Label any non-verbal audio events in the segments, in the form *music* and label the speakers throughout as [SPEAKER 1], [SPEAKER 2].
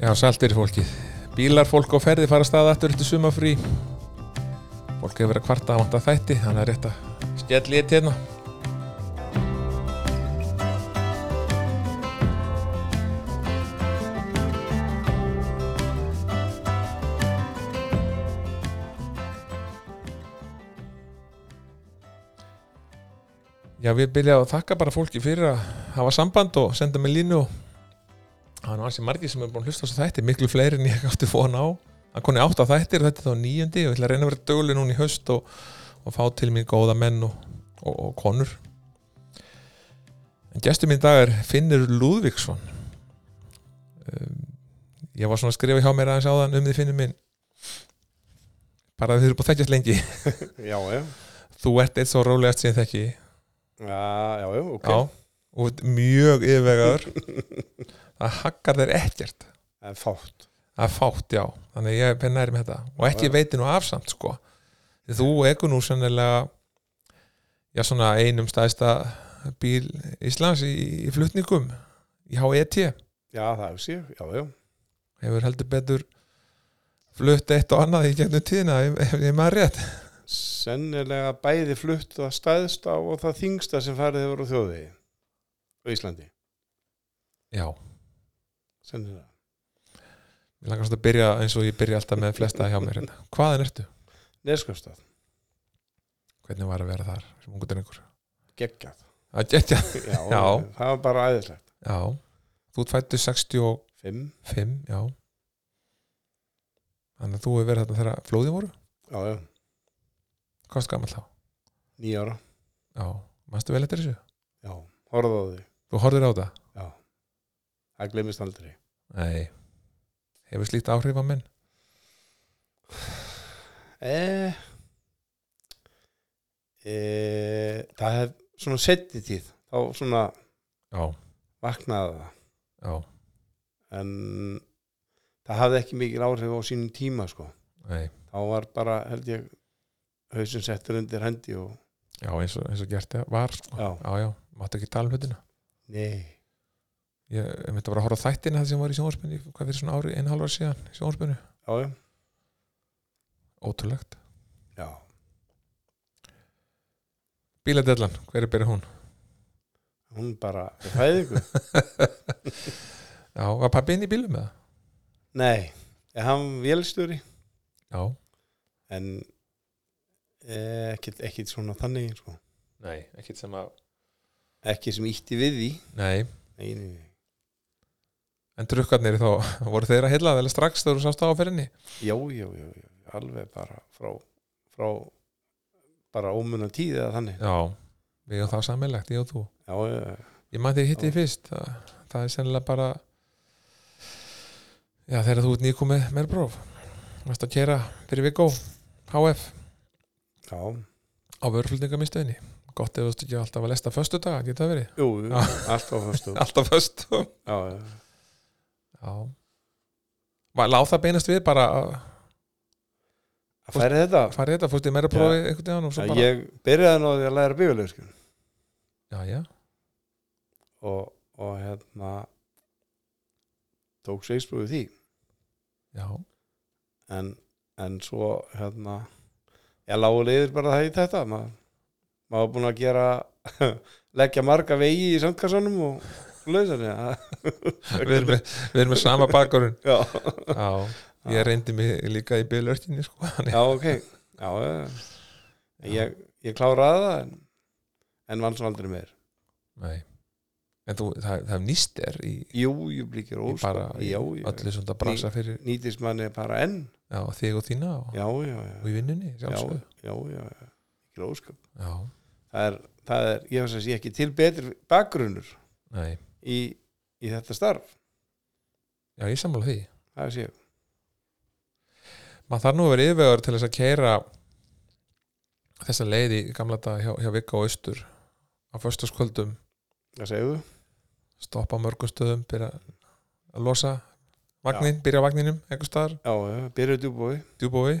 [SPEAKER 1] Já, saltir fólkið. Bílar, fólk á ferði fara staða aftur eftir sumafrí. Fólk hefur verið að kvarta að vanta þætti, þannig að rétt að skell í eitt hérna. Já, við byrjaði að þakka bara fólki fyrir að hafa samband og senda með línu og það er nú alls í margir sem er búin að hlusta á þessu þætti, miklu fleiri en ég átti fóna á. Það koni átta þættir og þetta er þá nýjöndi og ég ætla að reyna að vera döguleg núna í höst og, og fá til mín góða menn og, og, og konur. En gestur mín í dag er Finnur Lúðvíksson. Um, ég var svona að skrifa hjá mér aðeins áðan um því Finnur minn. Bara þið eru búin að þekkjast lengi. *laughs*
[SPEAKER 2] Já, já,
[SPEAKER 1] Þú ert eitt svo rólegast sem ég þekki.
[SPEAKER 2] já, já, já, ok
[SPEAKER 1] Já, og þú ert mjög yfirvegaður Það hakkar þér ekkert
[SPEAKER 2] Það er fátt
[SPEAKER 1] Það er fátt, já, þannig að ég er pennæri með þetta og ekki
[SPEAKER 2] Já.
[SPEAKER 1] veiti nú afsamt, sko Því þú ekur nú sennilega já, svona einum stæðsta bíl Íslands í, í flutningum í HET
[SPEAKER 2] Já, það hefur sér, já, já
[SPEAKER 1] hefur heldur betur flutt eitt og annað í gegnum tíðina ef, ef ég maður rétt
[SPEAKER 2] Sennilega bæði flutt það stæðsta og það þingsta sem farið hefur á þjóðvegi á Íslandi,
[SPEAKER 1] Já,
[SPEAKER 2] sennilega
[SPEAKER 1] ég langast að byrja eins og ég byrja alltaf með flesta hjá mér hérna. Hvaðan ertu?
[SPEAKER 2] Neskjöfstað,
[SPEAKER 1] Hvernig var að vera þar sem ungur drengur?
[SPEAKER 2] geggjað
[SPEAKER 1] Að getja
[SPEAKER 2] já,
[SPEAKER 1] *laughs* Já.
[SPEAKER 2] það var bara æðislegt
[SPEAKER 1] Já, þú fættu 65,
[SPEAKER 2] Fimm,
[SPEAKER 1] já Þannig að þú hefur verið þarna þegar flóðin voru
[SPEAKER 2] já, já,
[SPEAKER 1] Hvað varst gamall þá?
[SPEAKER 2] níu ára
[SPEAKER 1] Já, manstu vel eftir þessu?
[SPEAKER 2] Já, horfðu á því,
[SPEAKER 1] Þú horfir á það?
[SPEAKER 2] já Það glemist aldrei
[SPEAKER 1] Nei Hefur slíkt áhrif á menn?
[SPEAKER 2] eh, eh, Það hef svona setni tíð þá svona
[SPEAKER 1] Já,
[SPEAKER 2] vaknaði það
[SPEAKER 1] já,
[SPEAKER 2] en það hafði ekki mikil áhrif á sínum tíma sko.
[SPEAKER 1] nei
[SPEAKER 2] þá var bara held ég hausinn settur undir hendi og
[SPEAKER 1] Já, eins og, eins og gert það var sko.
[SPEAKER 2] já,
[SPEAKER 1] Já, já, máttu ekki tala um hlutina
[SPEAKER 2] nei,
[SPEAKER 1] Ég ég myndi bara að horfa á þættina það sem var í sjónvarspinu Hvað fyrir svona ári, einhálfur síðan í sjónvarspinu
[SPEAKER 2] já, já,
[SPEAKER 1] Ótrúlegt
[SPEAKER 2] já
[SPEAKER 1] Bíladellan, hver er byrja hún?
[SPEAKER 2] hún bara, við fæðingu
[SPEAKER 1] Já, var pabbi inn í bílum með það?
[SPEAKER 2] nei, en hann vélstjóri
[SPEAKER 1] Já,
[SPEAKER 2] en eh, ekkit, ekkit svona þannig sko.
[SPEAKER 1] nei, ekkit sem að
[SPEAKER 2] ekki sem ítti við því
[SPEAKER 1] Nei,
[SPEAKER 2] nei, nei, nei.
[SPEAKER 1] En drukkarnir þá, *laughs* voru þeir að hylla það alveg strax þegar þú sást á áferinni?
[SPEAKER 2] já, já, já, já, alveg bara frá, frá bara ómunna tíð eða þannig
[SPEAKER 1] Já, við erum það sammeilegt, ég og þú.
[SPEAKER 2] já, já, já,
[SPEAKER 1] Ég man þegar hitti þig fyrst, það, það er sennilega bara, já þegar þú ert nýkomið með próf, varst að kera fyrir Viggo, HF,
[SPEAKER 2] já,
[SPEAKER 1] á vörflutningamistöðinni. Gott ef þú stu ekki alltaf að lesta föstu dag, geta það verið.
[SPEAKER 2] jú, jú,
[SPEAKER 1] Já.
[SPEAKER 2] allt á fyrstu já,
[SPEAKER 1] Alltaf föstu.
[SPEAKER 2] já,
[SPEAKER 1] Já. Var, láð það beinast við bara að
[SPEAKER 2] að færi þetta
[SPEAKER 1] fara í þetta, fórstu í meira prófi einhvern veginn og svo
[SPEAKER 2] Já,
[SPEAKER 1] bara,
[SPEAKER 2] ég byrjaði nú á því að læra bíóleikskun
[SPEAKER 1] já, já,
[SPEAKER 2] og, og hérna tók seinsprúfið því
[SPEAKER 1] já,
[SPEAKER 2] en, en svo hérna ég lágu leiðir bara það í þetta maður maður var búin að gera *laughs* leggja marga vegi í sandkassanum og lausan
[SPEAKER 1] *laughs* við erum með, við erum með sama bakgrunn. *laughs*
[SPEAKER 2] já,
[SPEAKER 1] Já, ég reyndi mig líka í bylörkinni sko, þannig
[SPEAKER 2] já, ok já, já. Ég, ég kláraði það en, en vann svo aldrei meir
[SPEAKER 1] Nei. En þú, það, það nýst er í,
[SPEAKER 2] jú, jú,
[SPEAKER 1] í
[SPEAKER 2] blíkir óskap
[SPEAKER 1] bara í
[SPEAKER 2] já, já,
[SPEAKER 1] öllu svona brasa fyrir
[SPEAKER 2] nýtist manni bara enn
[SPEAKER 1] já, þig og þína og,
[SPEAKER 2] já, já, já
[SPEAKER 1] og í vinnunni
[SPEAKER 2] já,
[SPEAKER 1] sjálfsögðu.
[SPEAKER 2] já, já, já, ekki ósköp
[SPEAKER 1] Já,
[SPEAKER 2] það er, það er, ég hef að segja ekki til betri bakgrunnur
[SPEAKER 1] nei,
[SPEAKER 2] í, í þetta starf
[SPEAKER 1] já, ég sammála því
[SPEAKER 2] það sé, ég.
[SPEAKER 1] maður þarf nú að vera yfirvegur til þess að keira þessa leið í gamla dag hjá, hjá Vika og Austur á föstaskvöldum,
[SPEAKER 2] það segðu
[SPEAKER 1] stoppa á mörgum stöðum byrja að losa vagnin, byrja á vagninum, einhver staðar
[SPEAKER 2] já, já, byrjuðu búi,
[SPEAKER 1] djúbói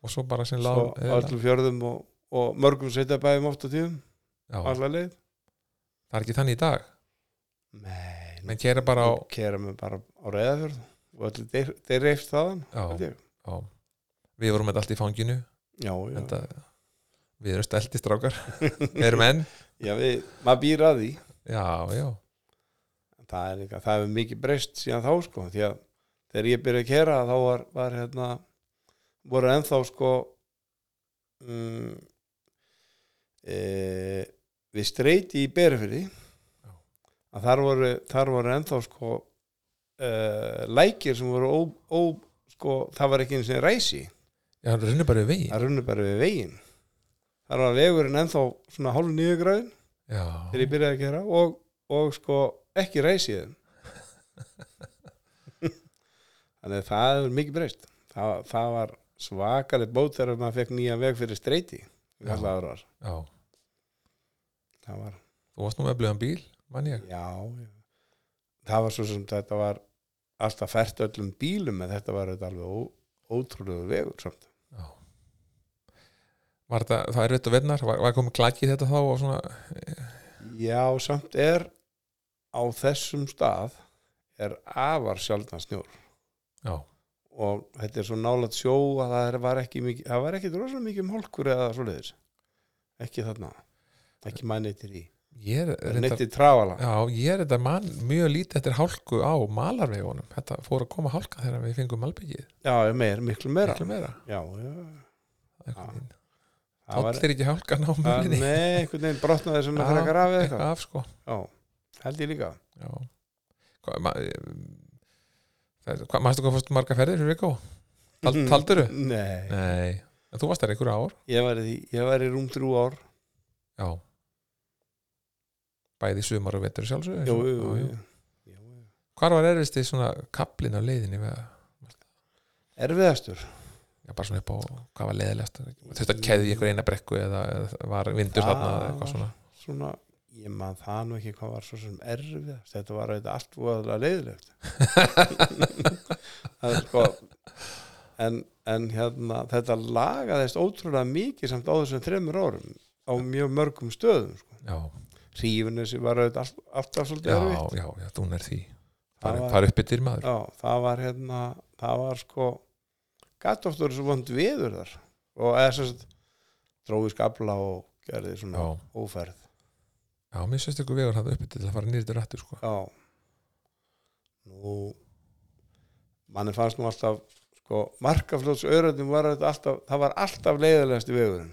[SPEAKER 1] og svo bara sinn
[SPEAKER 2] svo
[SPEAKER 1] lág eða-
[SPEAKER 2] öllum fjörðum og, og mörgum sveita bæðum oft á tíðum
[SPEAKER 1] Já, það
[SPEAKER 2] allar leið
[SPEAKER 1] er ekki þannig í dag
[SPEAKER 2] nei,
[SPEAKER 1] menn keira bara á
[SPEAKER 2] kera mig bara á reyðafjörð og allir þeir, þeir reyfst þaðan held
[SPEAKER 1] já,
[SPEAKER 2] ég.
[SPEAKER 1] já. Við vorum þetta allt í fanginu
[SPEAKER 2] já, já.
[SPEAKER 1] enda, Við erum stelti
[SPEAKER 2] *laughs*
[SPEAKER 1] strákar Erum enn
[SPEAKER 2] já við, maður býr að því
[SPEAKER 1] Já, já,
[SPEAKER 2] það er líka, það hefur mikið breyst síðan þá sko, því að þegar ég byrja að kera þá var, var hérna voru ennþá sko um, e, við streyti í Berfyrði
[SPEAKER 1] Já.
[SPEAKER 2] að þar voru, þar voru ennþá sko e, lækir sem voru ó, ó, sko, það var ekki einu sinni ræsi
[SPEAKER 1] já hann runnur bara við vegi
[SPEAKER 2] það runni bara við veginn þar var vegurinn ennþá svona hálf nýju gráðin þegar
[SPEAKER 1] Já,
[SPEAKER 2] ég byrjaði að gera og, og sko ekki reysið *laughs* þannig að það hefur mikið breyst það, það var svakalegt bót þegar maður fekk nýja veg fyrir streyti
[SPEAKER 1] Já.
[SPEAKER 2] það var,
[SPEAKER 1] já
[SPEAKER 2] það var
[SPEAKER 1] Þú varst nú með blöðan bíl, mann ég
[SPEAKER 2] já, já. það var svo sem þetta var alltaf fært öllum bílum en þetta var þetta alveg ó, ótrúlegu vegur samt
[SPEAKER 1] Var þetta, það er veitt og vernar Var, var komið klakið þetta þá og svona
[SPEAKER 2] já, samt er á þessum stað er afar sjaldan snjór
[SPEAKER 1] Já,
[SPEAKER 2] og þetta er svo nálat sjó að það er- var ekki mikið, það var ekki rosalega mikið um hólkur eða svoleiðis ekki þarna, ekki maður neittir í
[SPEAKER 1] ég er reyndar-
[SPEAKER 2] neittir trafala
[SPEAKER 1] Já, ég er þetta man, mjög lítið eftir hálku á malarvegunum. Þetta fór að koma hálka þegar við fengum malbyggið.
[SPEAKER 2] já, já, meir, miklu meira
[SPEAKER 1] Miklu meira.
[SPEAKER 2] já, já, Já,
[SPEAKER 1] Það
[SPEAKER 2] það var
[SPEAKER 1] allir ekki hálkan á
[SPEAKER 2] að-
[SPEAKER 1] mölinni.
[SPEAKER 2] nei, einhvern veginn brotnaði sem að
[SPEAKER 1] Já,
[SPEAKER 2] frekar af eða
[SPEAKER 1] Eitthvað
[SPEAKER 2] eitthvað
[SPEAKER 1] af, sko.
[SPEAKER 2] já, held ég líka
[SPEAKER 1] Já. Hvað, ma, eh, það- hvað, maður hvað fórstu marga ferðir fyrir vikó? Tal, talduru?
[SPEAKER 2] Mhm. Mm. nei,
[SPEAKER 1] Nei. En þú varst þar einhverja ár?
[SPEAKER 2] ég var, í, ég var í rúm þrjú ár
[SPEAKER 1] Já. Bæði sumar og vetur sjálfsög.
[SPEAKER 2] jú, jú, jú, jú. Jú, jú.
[SPEAKER 1] Hvar var erfist í svona kaplin á leiðinni? Við, að-
[SPEAKER 2] erfiðastur
[SPEAKER 1] já, bara svona upp á hvað var leiðilegast? Þetta keði í einhver eina brekku eða, eða var vindur
[SPEAKER 2] Það
[SPEAKER 1] þarna eða eitthvað
[SPEAKER 2] var-
[SPEAKER 1] svona?
[SPEAKER 2] svona, ég man það nú ekki hvað var svo sem erfiðast þetta var þetta allt voðalega leiðilegt
[SPEAKER 1] *laughs*
[SPEAKER 2] það er sko en, en hérna þetta lagaðist ótrúlega mikið samt á þessum þremur árum á mjög mörgum stöðum sko.
[SPEAKER 1] já,
[SPEAKER 2] rífunissi var auðvitað all- alltaf svolítið
[SPEAKER 1] já,
[SPEAKER 2] erfitt
[SPEAKER 1] já, já, þú nær því
[SPEAKER 2] það
[SPEAKER 1] fara,
[SPEAKER 2] var,
[SPEAKER 1] fara upp yfir maður
[SPEAKER 2] já, það var hérna það var sko gatt oftur þessu vond viður þar og eða sem sagt dróði skabla og gerði svona
[SPEAKER 1] já,
[SPEAKER 2] óferð
[SPEAKER 1] já, mér sérst ykkur vegur hann upp yfir til að fara nýrið til rættu sko.
[SPEAKER 2] Já Nú manni fannst nú alltaf sko, markaflóts öðröndum var þetta alltaf það var alltaf leiðilegasti vegurinn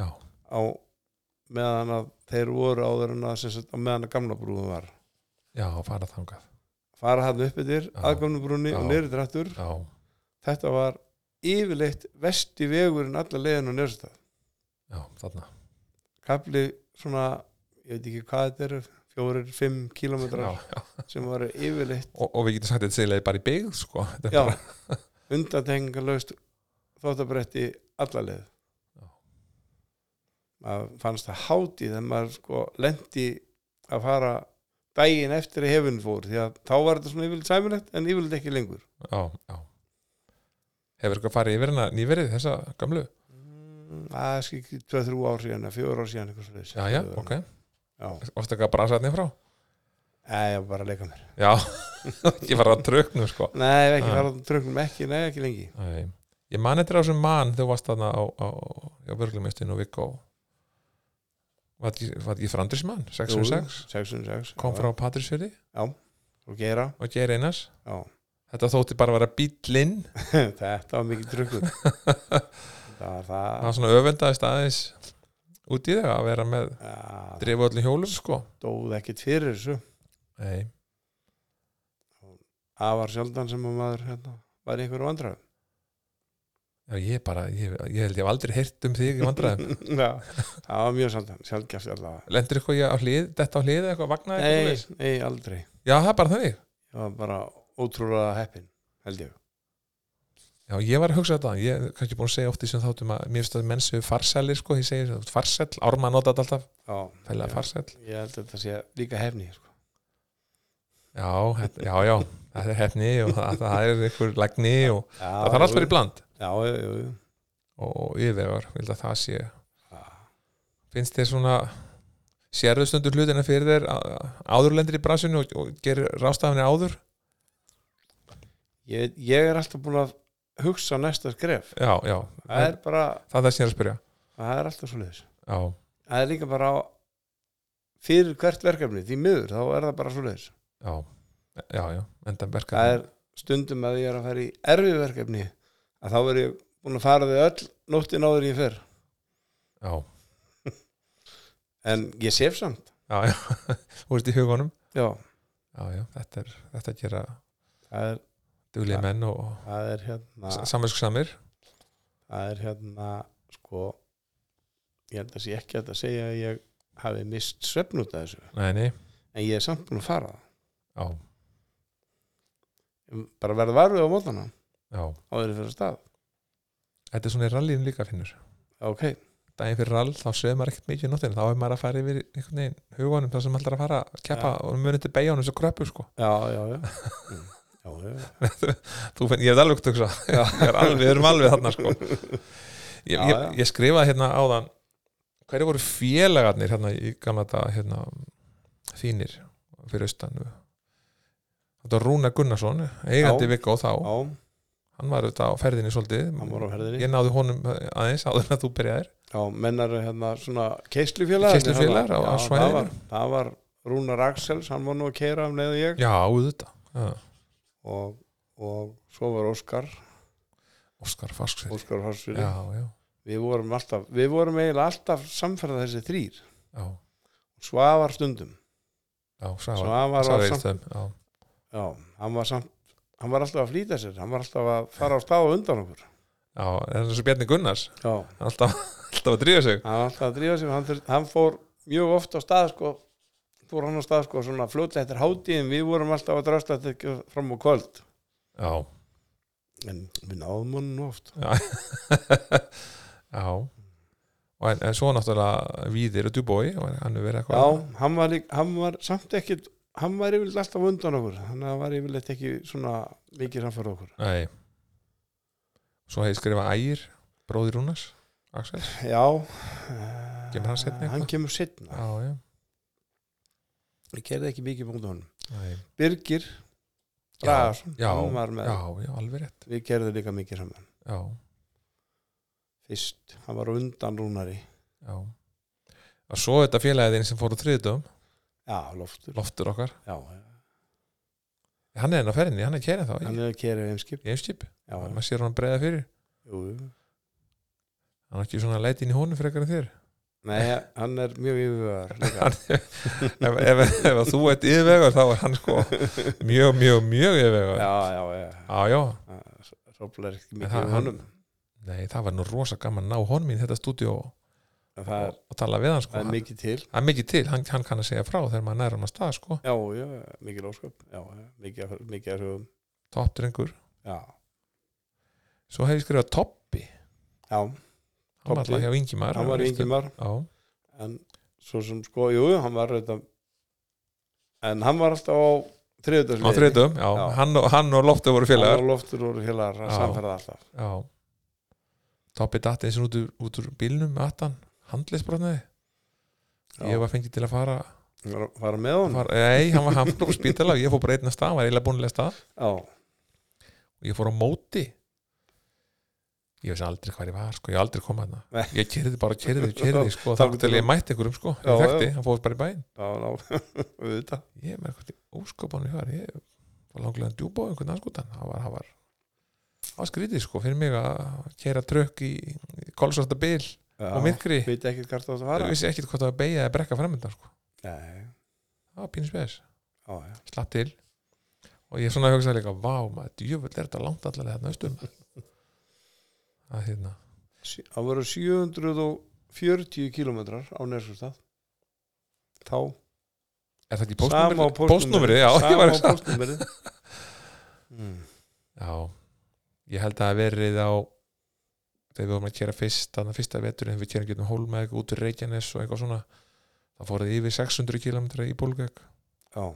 [SPEAKER 1] já,
[SPEAKER 2] á meðan að þeir voru áður en að sem sagt, á meðan að gamla brúðum var
[SPEAKER 1] já, fara þangað
[SPEAKER 2] fara hann upp yfir
[SPEAKER 1] Já.
[SPEAKER 2] að gamla brúnni og
[SPEAKER 1] Já.
[SPEAKER 2] neyri drættur
[SPEAKER 1] já,
[SPEAKER 2] þetta var yfirleitt vesti vegurinn alla leiðin og neyri stað
[SPEAKER 1] já, þarna
[SPEAKER 2] kapli svona, ég veit ekki hvað þetta eru fjórir, fimm
[SPEAKER 1] já,
[SPEAKER 2] kílómetrar
[SPEAKER 1] já.
[SPEAKER 2] sem var yfirleitt
[SPEAKER 1] Og, og við getum sagt að þetta seglega bara í byggð sko. *laughs* Þetta er
[SPEAKER 2] Já,
[SPEAKER 1] bara,
[SPEAKER 2] *laughs* undantekningarlaust þóttabretti allaleið
[SPEAKER 1] Já.
[SPEAKER 2] maður fannst það hátíð þegar maður sko lendi að fara daginn eftir að hefinn fór því að þá var þetta svona yfirleitt sæmilegt en yfirleitt ekki lengur
[SPEAKER 1] já, já hefur ykkur farið yfir hana nýverið þessa gamlu
[SPEAKER 2] það er skil 2-3 ár síðan eða 4 ár síðan eitthvað svoleiðis.
[SPEAKER 1] Mm. já, já, ok,
[SPEAKER 2] já,
[SPEAKER 1] varstu eitthvað að brasa hann frá
[SPEAKER 2] Nei, ég var bara að leika mér
[SPEAKER 1] já, *laughs* ég var að tröknu sko.
[SPEAKER 2] nei, ekki
[SPEAKER 1] Já.
[SPEAKER 2] fara á trögnum, ekki, nei, ekki lengi
[SPEAKER 1] Nei. ég man eftir á þessum mann þegar þú varst þarna á, á, á vörglumistinu og vikó var þetta ekki- var þetta ekki frandrismann 606
[SPEAKER 2] 606
[SPEAKER 1] um kom
[SPEAKER 2] já.
[SPEAKER 1] frá Patrísfjörði
[SPEAKER 2] og um gera, *laughs*
[SPEAKER 1] og Geir Einars
[SPEAKER 2] já
[SPEAKER 1] þetta þótti bara að vera bíllinn
[SPEAKER 2] þetta var mikið
[SPEAKER 1] *laughs*
[SPEAKER 2] tröggur
[SPEAKER 1] það
[SPEAKER 2] það var það
[SPEAKER 1] var svona öfundaðist aðeins út í þau að vera með
[SPEAKER 2] Já,
[SPEAKER 1] drifu öllum hjólum sko
[SPEAKER 2] stóð ekkit fyrir þessu
[SPEAKER 1] Nei.
[SPEAKER 2] það var sjaldan sem að maður hérna, var í einhverju vandræðum
[SPEAKER 1] Já, ég, bara, ég, ég held ég hef aldrei heyrt um þig í vandræðum
[SPEAKER 2] *laughs* Já, það var mjög sjaldan, sjaldgæft allavega
[SPEAKER 1] lendur eitthvað ég á hlið, þetta á hlið eða eitthvað vagnaði eitthvað
[SPEAKER 2] nei,
[SPEAKER 1] svoleiðis?
[SPEAKER 2] nei, aldrei
[SPEAKER 1] já það er bara þannig
[SPEAKER 2] ég var bara ótrúlega heppin held ég
[SPEAKER 1] Já, ég var að hugsa þetta, ég er kannski búin að segja oft í sem þáttum að mér finnst að menn séu farsælir sko, ég segi þetta, farsæll, árma nota þetta alltaf
[SPEAKER 2] já,
[SPEAKER 1] fælega
[SPEAKER 2] Já.
[SPEAKER 1] farsæll,
[SPEAKER 2] ég held að þetta sé líka hefni sko.
[SPEAKER 1] já, þetta, já, já þetta er hefni og það, það er einhver lagni og
[SPEAKER 2] já,
[SPEAKER 1] það þarf allt verið bland
[SPEAKER 2] já, jú, jú, jú.
[SPEAKER 1] og, og yfirvegar, vil að það sé
[SPEAKER 2] Já.
[SPEAKER 1] finnst þér svona sérðu stundur hlutina fyrir þér áðurlendir í brasinu og, og gerir rástafinni áður
[SPEAKER 2] ég, ég er alltaf búin að hugsa næsta skref
[SPEAKER 1] já, já,
[SPEAKER 2] það er bara,
[SPEAKER 1] það er það sem ég er að spyrja
[SPEAKER 2] það er alltaf svo leiðis
[SPEAKER 1] já,
[SPEAKER 2] það er líka bara á- fyrir hvert verkefni, því miður þá er það bara svo leiðis
[SPEAKER 1] já, já, já enda
[SPEAKER 2] það
[SPEAKER 1] verkefni
[SPEAKER 2] er stundum að ég er að fara í erfið verkefni að þá er ég búin að fara þau öll nóttin áður en ég fer
[SPEAKER 1] já,
[SPEAKER 2] en ég sef samt
[SPEAKER 1] já, já, *laughs* þú veist í hugunum
[SPEAKER 2] já,
[SPEAKER 1] já, já, þetta er þetta er að gera
[SPEAKER 2] það er,
[SPEAKER 1] duglið menn og
[SPEAKER 2] það er hérna
[SPEAKER 1] samvinsku samir
[SPEAKER 2] það er hérna sko ég held að sé ekki hægt að segja að ég hafi mist svefn út af þessu
[SPEAKER 1] nei, nei,
[SPEAKER 2] en ég er samt búin að fara
[SPEAKER 1] já,
[SPEAKER 2] það bara verða varfið á mótana
[SPEAKER 1] já
[SPEAKER 2] á þeirri fyrir stað
[SPEAKER 1] þetta er svona í rallinu líka finnur
[SPEAKER 2] ok,
[SPEAKER 1] daginn fyrir rall þá sveður maður ekkert mikið í nóttinu þá er maður að fara yfir einhvern veginn hugunum það sem allar að fara að keppa og munið til beigjónum sem kröpu sko
[SPEAKER 2] já, já, já Mm. já, já, já.
[SPEAKER 1] þú finn, ég hef alveg tuksa sko. *laughs* ég er alveg, við erum alveg þarna sko ég,
[SPEAKER 2] Já,
[SPEAKER 1] ég,
[SPEAKER 2] já.
[SPEAKER 1] ég skrifaði hérna áðan hverju voru félagarnir hérna í gamla þetta hérna þínir fyrir austan þetta var Rúna Gunnarsson eigandi
[SPEAKER 2] Já.
[SPEAKER 1] Viggo þá,
[SPEAKER 2] já
[SPEAKER 1] hann var auðvitað á ferðinni
[SPEAKER 2] hann voru
[SPEAKER 1] svolítið,
[SPEAKER 2] á herðinni
[SPEAKER 1] ég náði honum aðeins áður en að þú byrjaðir
[SPEAKER 2] já, mennar hérna svona keislufélag
[SPEAKER 1] Keyslufélagar á- á svæðinu.
[SPEAKER 2] það var, það var Rúnar Axels, hann var nú að keira um leiðu ég
[SPEAKER 1] já, auðvitað, Já.
[SPEAKER 2] og, og svo var Óskar
[SPEAKER 1] Óskar Farsksir
[SPEAKER 2] Óskar Horsfjöri
[SPEAKER 1] já, já,
[SPEAKER 2] við vorum alltaf, við vorum eiginlega alltaf samferða þessi þrýr
[SPEAKER 1] já,
[SPEAKER 2] Svavar stundum
[SPEAKER 1] já Svavar,
[SPEAKER 2] Svavar var
[SPEAKER 1] Svavar
[SPEAKER 2] samt,
[SPEAKER 1] Eilstöðum já,
[SPEAKER 2] já, hann var samt hann var alltaf að flýta sér, hann var alltaf að fara á stað og undan okkur
[SPEAKER 1] já, það er svo Bjarni Gunnars
[SPEAKER 2] já.
[SPEAKER 1] alltaf, *laughs* alltaf að drífa sig
[SPEAKER 2] hann var alltaf að drífa sér hann, þur, hann fór mjög oft á stað sko, fór hann á stað sko, svona fljótlega eftir hátíðin, við vorum alltaf að drasta þetta fram á kvöld
[SPEAKER 1] já, *laughs*
[SPEAKER 2] en við náðum hann nú oft
[SPEAKER 1] Já og en, en svo náttúrulega Víðir og Dubói hann hefur verið
[SPEAKER 2] já,
[SPEAKER 1] eitthvað
[SPEAKER 2] hann var, lík- hann var samt ekkit hann var yfirleitt alltaf á undan okkur þannig að hann var yfirleitt ekki svona mikið samfara okkur
[SPEAKER 1] Nei. svo hefði skrifað Ægir bróðir Rúnars Axel
[SPEAKER 2] já eh,
[SPEAKER 1] Kemur hann seinna
[SPEAKER 2] hann
[SPEAKER 1] eitthvað?
[SPEAKER 2] kemur setna
[SPEAKER 1] já, já.
[SPEAKER 2] ég gerði ekki mikið mútið honum
[SPEAKER 1] Nei.
[SPEAKER 2] Birgir Bragason,
[SPEAKER 1] já,
[SPEAKER 2] hann var með
[SPEAKER 1] já, já, alveg rétt
[SPEAKER 2] við gerðum líka mikið saman
[SPEAKER 1] já,
[SPEAKER 2] fyrst, hann var á undan Rúnari
[SPEAKER 1] já. og svo þetta félagið sem fór á þriðdum,
[SPEAKER 2] já, loftur
[SPEAKER 1] loftur okkar
[SPEAKER 2] já, já.
[SPEAKER 1] hann er enn á ferðinni, hann er kærið þá
[SPEAKER 2] hann
[SPEAKER 1] í-
[SPEAKER 2] er að kera heimskip
[SPEAKER 1] í einskip,
[SPEAKER 2] já, já.
[SPEAKER 1] maður sér hann breiða fyrir
[SPEAKER 2] Jú, jú.
[SPEAKER 1] hann er ekki svona leit inn í honum frekar en þér
[SPEAKER 2] Nei, hann er mjög yfirvegar líka.
[SPEAKER 1] Hann- ef, ef, ef, ef þú ert yfirvegar þá er hann sko mjög, mjög, mjög yfirvegar
[SPEAKER 2] já, já, já,
[SPEAKER 1] já, já.
[SPEAKER 2] soplar ekki
[SPEAKER 1] En það-
[SPEAKER 2] mikið um honum
[SPEAKER 1] Nei, það var nú rosa gaman að ná honum í þetta stúdíu og,
[SPEAKER 2] En það er,
[SPEAKER 1] og tala við hann sko.
[SPEAKER 2] það er mikið til
[SPEAKER 1] Hann- það er mikið til, hann, hann kann að segja frá þegar maður nær hann að stað sko.
[SPEAKER 2] já, já, mikið lósköp já, já, mikið, af- mikið af hugum
[SPEAKER 1] Topp drengur.
[SPEAKER 2] já,
[SPEAKER 1] Svo hef ég skrifað Toppi,
[SPEAKER 2] já,
[SPEAKER 1] hann var
[SPEAKER 2] Tobbi.
[SPEAKER 1] alltaf hjá Ingimar.
[SPEAKER 2] hann var yngimar
[SPEAKER 1] Já,
[SPEAKER 2] en svo sem sko, jú, jú, hann var þetta, en hann var alltaf á
[SPEAKER 1] á
[SPEAKER 2] þriðudagsliði
[SPEAKER 1] þriðdum, já,
[SPEAKER 2] Já.
[SPEAKER 1] Hann, og, hann og Loftur voru
[SPEAKER 2] félagar
[SPEAKER 1] félagar.
[SPEAKER 2] og loftur voru félagar að
[SPEAKER 1] Já.
[SPEAKER 2] samferða alltaf
[SPEAKER 1] Já. Toppi datti eins og út úr, út úr bílnum, atan, handlisbrotnaði.
[SPEAKER 2] Já.
[SPEAKER 1] Ég var fengið til að fara,
[SPEAKER 2] Hann var að fara með honum
[SPEAKER 1] fara nei, hann var hann fór á spítala og ég fór bara einn að stað, hann var eiginlega búinlega stað
[SPEAKER 2] já,
[SPEAKER 1] og ég fór á móti ég veist aldrei hvað ég var sko, ég aldrei kom hana
[SPEAKER 2] Nei.
[SPEAKER 1] ég kerði bara,
[SPEAKER 2] *laughs*
[SPEAKER 1] kerði, kerði sko, þá
[SPEAKER 2] Þangað
[SPEAKER 1] til
[SPEAKER 2] til
[SPEAKER 1] ég mætti einhverjum sko,
[SPEAKER 2] Já,
[SPEAKER 1] ég þekkti, hann fór bara í bæinn
[SPEAKER 2] já, ná, *laughs* auðvitað
[SPEAKER 1] ég með eitthvað óskapan í hver ég var langlega að djúpa á einhvern anskotan það var, það var, það var skrítið sko fyrir mig að kera trökk í, í kolsvarta bil
[SPEAKER 2] já,
[SPEAKER 1] og myrkri
[SPEAKER 2] veit ekki hvert það var
[SPEAKER 1] það vissi ekkit hvort það var beigja eða brekka fremyndan sko,
[SPEAKER 2] nei,
[SPEAKER 1] það var pínu spes
[SPEAKER 2] já, já,
[SPEAKER 1] slapp til og ég svona hugsaði líka, vá maður, djöfull er þetta langt allavega þarna austum *laughs* það er hérna
[SPEAKER 2] Sí- það voru 740 kilometrar á Nerskurstað þá
[SPEAKER 1] Er það ekki
[SPEAKER 2] sama á
[SPEAKER 1] póstnúmerið? Póstnúmerið, já, ég var að Hmm.
[SPEAKER 2] sama á
[SPEAKER 1] segja.
[SPEAKER 2] póstnúmerið mm.
[SPEAKER 1] Já, ég held að það hafi verið á þegar við vorum að kera fyrst þannig að fyrsta veturinn við kerum getum hólma eitthvað út úr Reykjanes og eitthvað svona það fór þið yfir 600 km í bólgögg
[SPEAKER 2] já,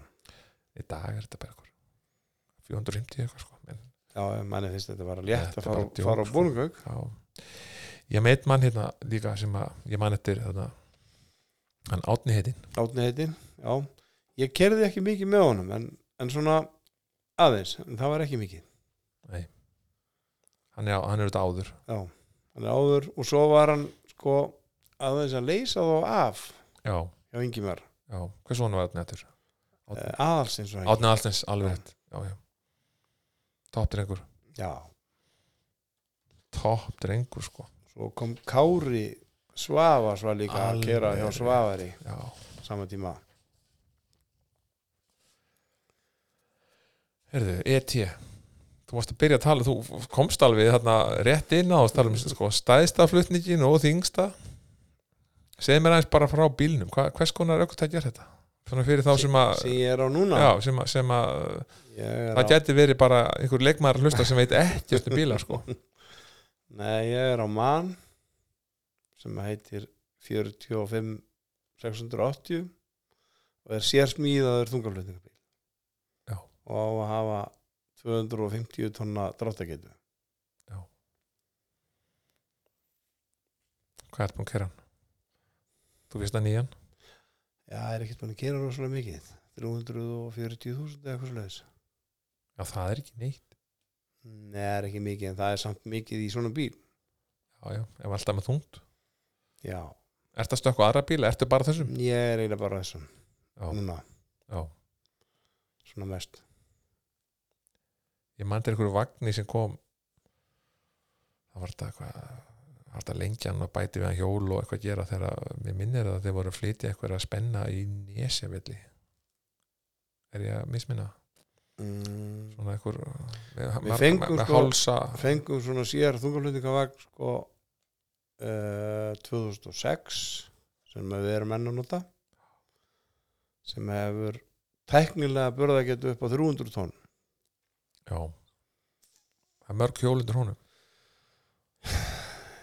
[SPEAKER 1] í dag er þetta bara eitthvað 450 eitthvað sko en,
[SPEAKER 2] já, ég manni finnst þetta bara létt
[SPEAKER 1] Þetta
[SPEAKER 2] að
[SPEAKER 1] er
[SPEAKER 2] fara,
[SPEAKER 1] bara djók,
[SPEAKER 2] fara á
[SPEAKER 1] sko.
[SPEAKER 2] bólungögg
[SPEAKER 1] já. ég meit mann hérna líka sem að ég mann eftir þarna hann átni heitinn
[SPEAKER 2] átni heitin, já ég kerði ekki mikið með honum en, en svona aðeins, en það var ekki mikið
[SPEAKER 1] hann er, hann er auðvitað áður
[SPEAKER 2] já, hann er áður og svo var hann sko aðeins að leysa þá af
[SPEAKER 1] já,
[SPEAKER 2] hjá Ingimar,
[SPEAKER 1] já, hvers svona var Átni eftir?
[SPEAKER 2] eh, aðals eins og hann
[SPEAKER 1] Átni Alstens, alveg rétt já, já. topp drengur
[SPEAKER 2] já,
[SPEAKER 1] topp drengur sko
[SPEAKER 2] svo kom Kári Svavars var líka
[SPEAKER 1] Alveg
[SPEAKER 2] að kera hjá
[SPEAKER 1] rétt.
[SPEAKER 2] Svavari
[SPEAKER 1] já,
[SPEAKER 2] sama tíma
[SPEAKER 1] heyrðu, ET þú varst að byrja að tala, þú komst alveg þarna rétt inn á að tala um sko, stæðsta flutningin og þingsta segð mér aðeins bara frá bílnum Hva, hvers konar aukvitað er þetta? Svona fyrir þá sem að
[SPEAKER 2] sem ég er á núna
[SPEAKER 1] já, sem, að- sem að
[SPEAKER 2] ég er
[SPEAKER 1] það
[SPEAKER 2] á,
[SPEAKER 1] geti verið bara einhver leikmaður að hlusta sem veit ekkert um bíla sko.
[SPEAKER 2] nei, ég er á mann sem heitir 45 680 og er sérsmíðaður þungaflutningabíl
[SPEAKER 1] Já.
[SPEAKER 2] og á að hafa 250 tonna dráttagetu
[SPEAKER 1] hvað er búin að kera hann? þú veist að nýjan?
[SPEAKER 2] Já, það er ekkert búin að gera rosalega mikið 340.000 eða eitthvað slags
[SPEAKER 1] já það er ekki neitt
[SPEAKER 2] Nei, það er ekki mikið en það er samt mikið í svona bíl
[SPEAKER 1] já, já, ef alltaf með þungt
[SPEAKER 2] Já,
[SPEAKER 1] ertu að stökka á aðra bíla, ertu bara þessum?
[SPEAKER 2] ég er eiginlega bara þessum
[SPEAKER 1] já,
[SPEAKER 2] núna,
[SPEAKER 1] já.
[SPEAKER 2] svona mest
[SPEAKER 1] ég man til einhverju vagnir sem kom það var þetta eitthvað það var þetta lengjan og bæti við hann hjól og eitthvað gera þegar að- mér minnir það að þeir voru að flytja eitthvað að spenna í nesjavilli er ég að misminna
[SPEAKER 2] mm,
[SPEAKER 1] svona einhver með,
[SPEAKER 2] Við fengum
[SPEAKER 1] með, með
[SPEAKER 2] sko-
[SPEAKER 1] hálsa
[SPEAKER 2] Fengum svona sér þungarflutningavagn sko uh, 2006 sem við erum enn að nota sem hefur tæknilega börða getu upp á 300 tonn
[SPEAKER 1] já það er mörg hjólundur honum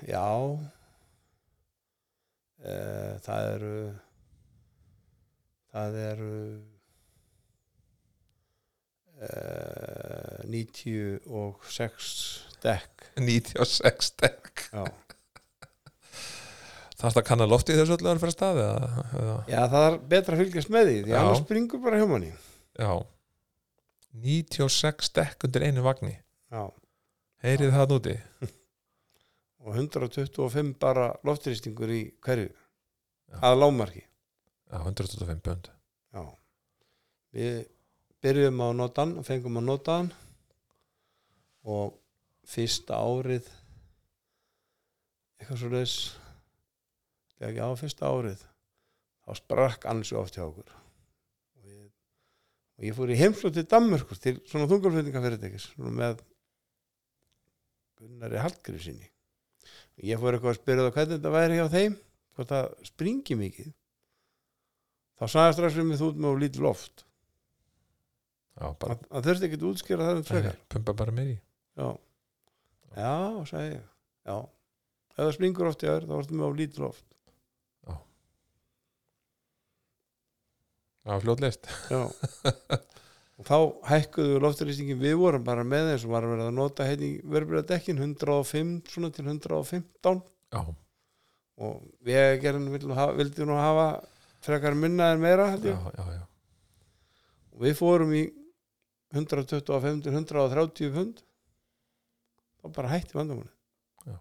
[SPEAKER 2] Já e, Það eru Það eru e, eh, 96 dekk
[SPEAKER 1] 96 dekk
[SPEAKER 2] Já.
[SPEAKER 1] þarst að kanna loftið í þessu öllu að fyrir staði eða, eða,
[SPEAKER 2] Já, það er betra að fylgjast með því því
[SPEAKER 1] Já.
[SPEAKER 2] annars springur bara hjá manni
[SPEAKER 1] já 96 dekk undir einu vagni
[SPEAKER 2] Já.
[SPEAKER 1] heyrið það núti
[SPEAKER 2] og 125 bara loftristingur í hverju
[SPEAKER 1] Já.
[SPEAKER 2] að lámarki
[SPEAKER 1] já, 125 pund
[SPEAKER 2] Já. Við byrjum á notan og fengum á notan og fyrsta árið eitthvað svo leis ekki á fyrsta árið þá sprakk ansu oft hjá okkur og, við, og ég fór í heimslu til Danmörkur til svona þungarflutningafyrirtækis svona með Gunnari Hallgríð sinni ég fór eitthvað að spyrja það hvernig þetta væri hjá þeim hvort það springi mikið þá sagði strax við mig þú út með of lítið loft
[SPEAKER 1] já, bara
[SPEAKER 2] það það þurfti ekki að útskýra það um frekar
[SPEAKER 1] pumpa bara meir í
[SPEAKER 2] já, já sagði ég já, ef það springur oft í aður þá varstu með of lítið loft
[SPEAKER 1] já, fljótlist *laughs*
[SPEAKER 2] já og þá hækkuðu við lofturlýstingin við vorum bara með eins og var að vera að nota heiti verður dekkin 105 svona til 115
[SPEAKER 1] já,
[SPEAKER 2] og við gerum vildi nú hafa frekar minna en meira held
[SPEAKER 1] já,
[SPEAKER 2] ég
[SPEAKER 1] já, já.
[SPEAKER 2] og við fórum í 125 til 130 pund þá bara hætti vandamáli
[SPEAKER 1] Já.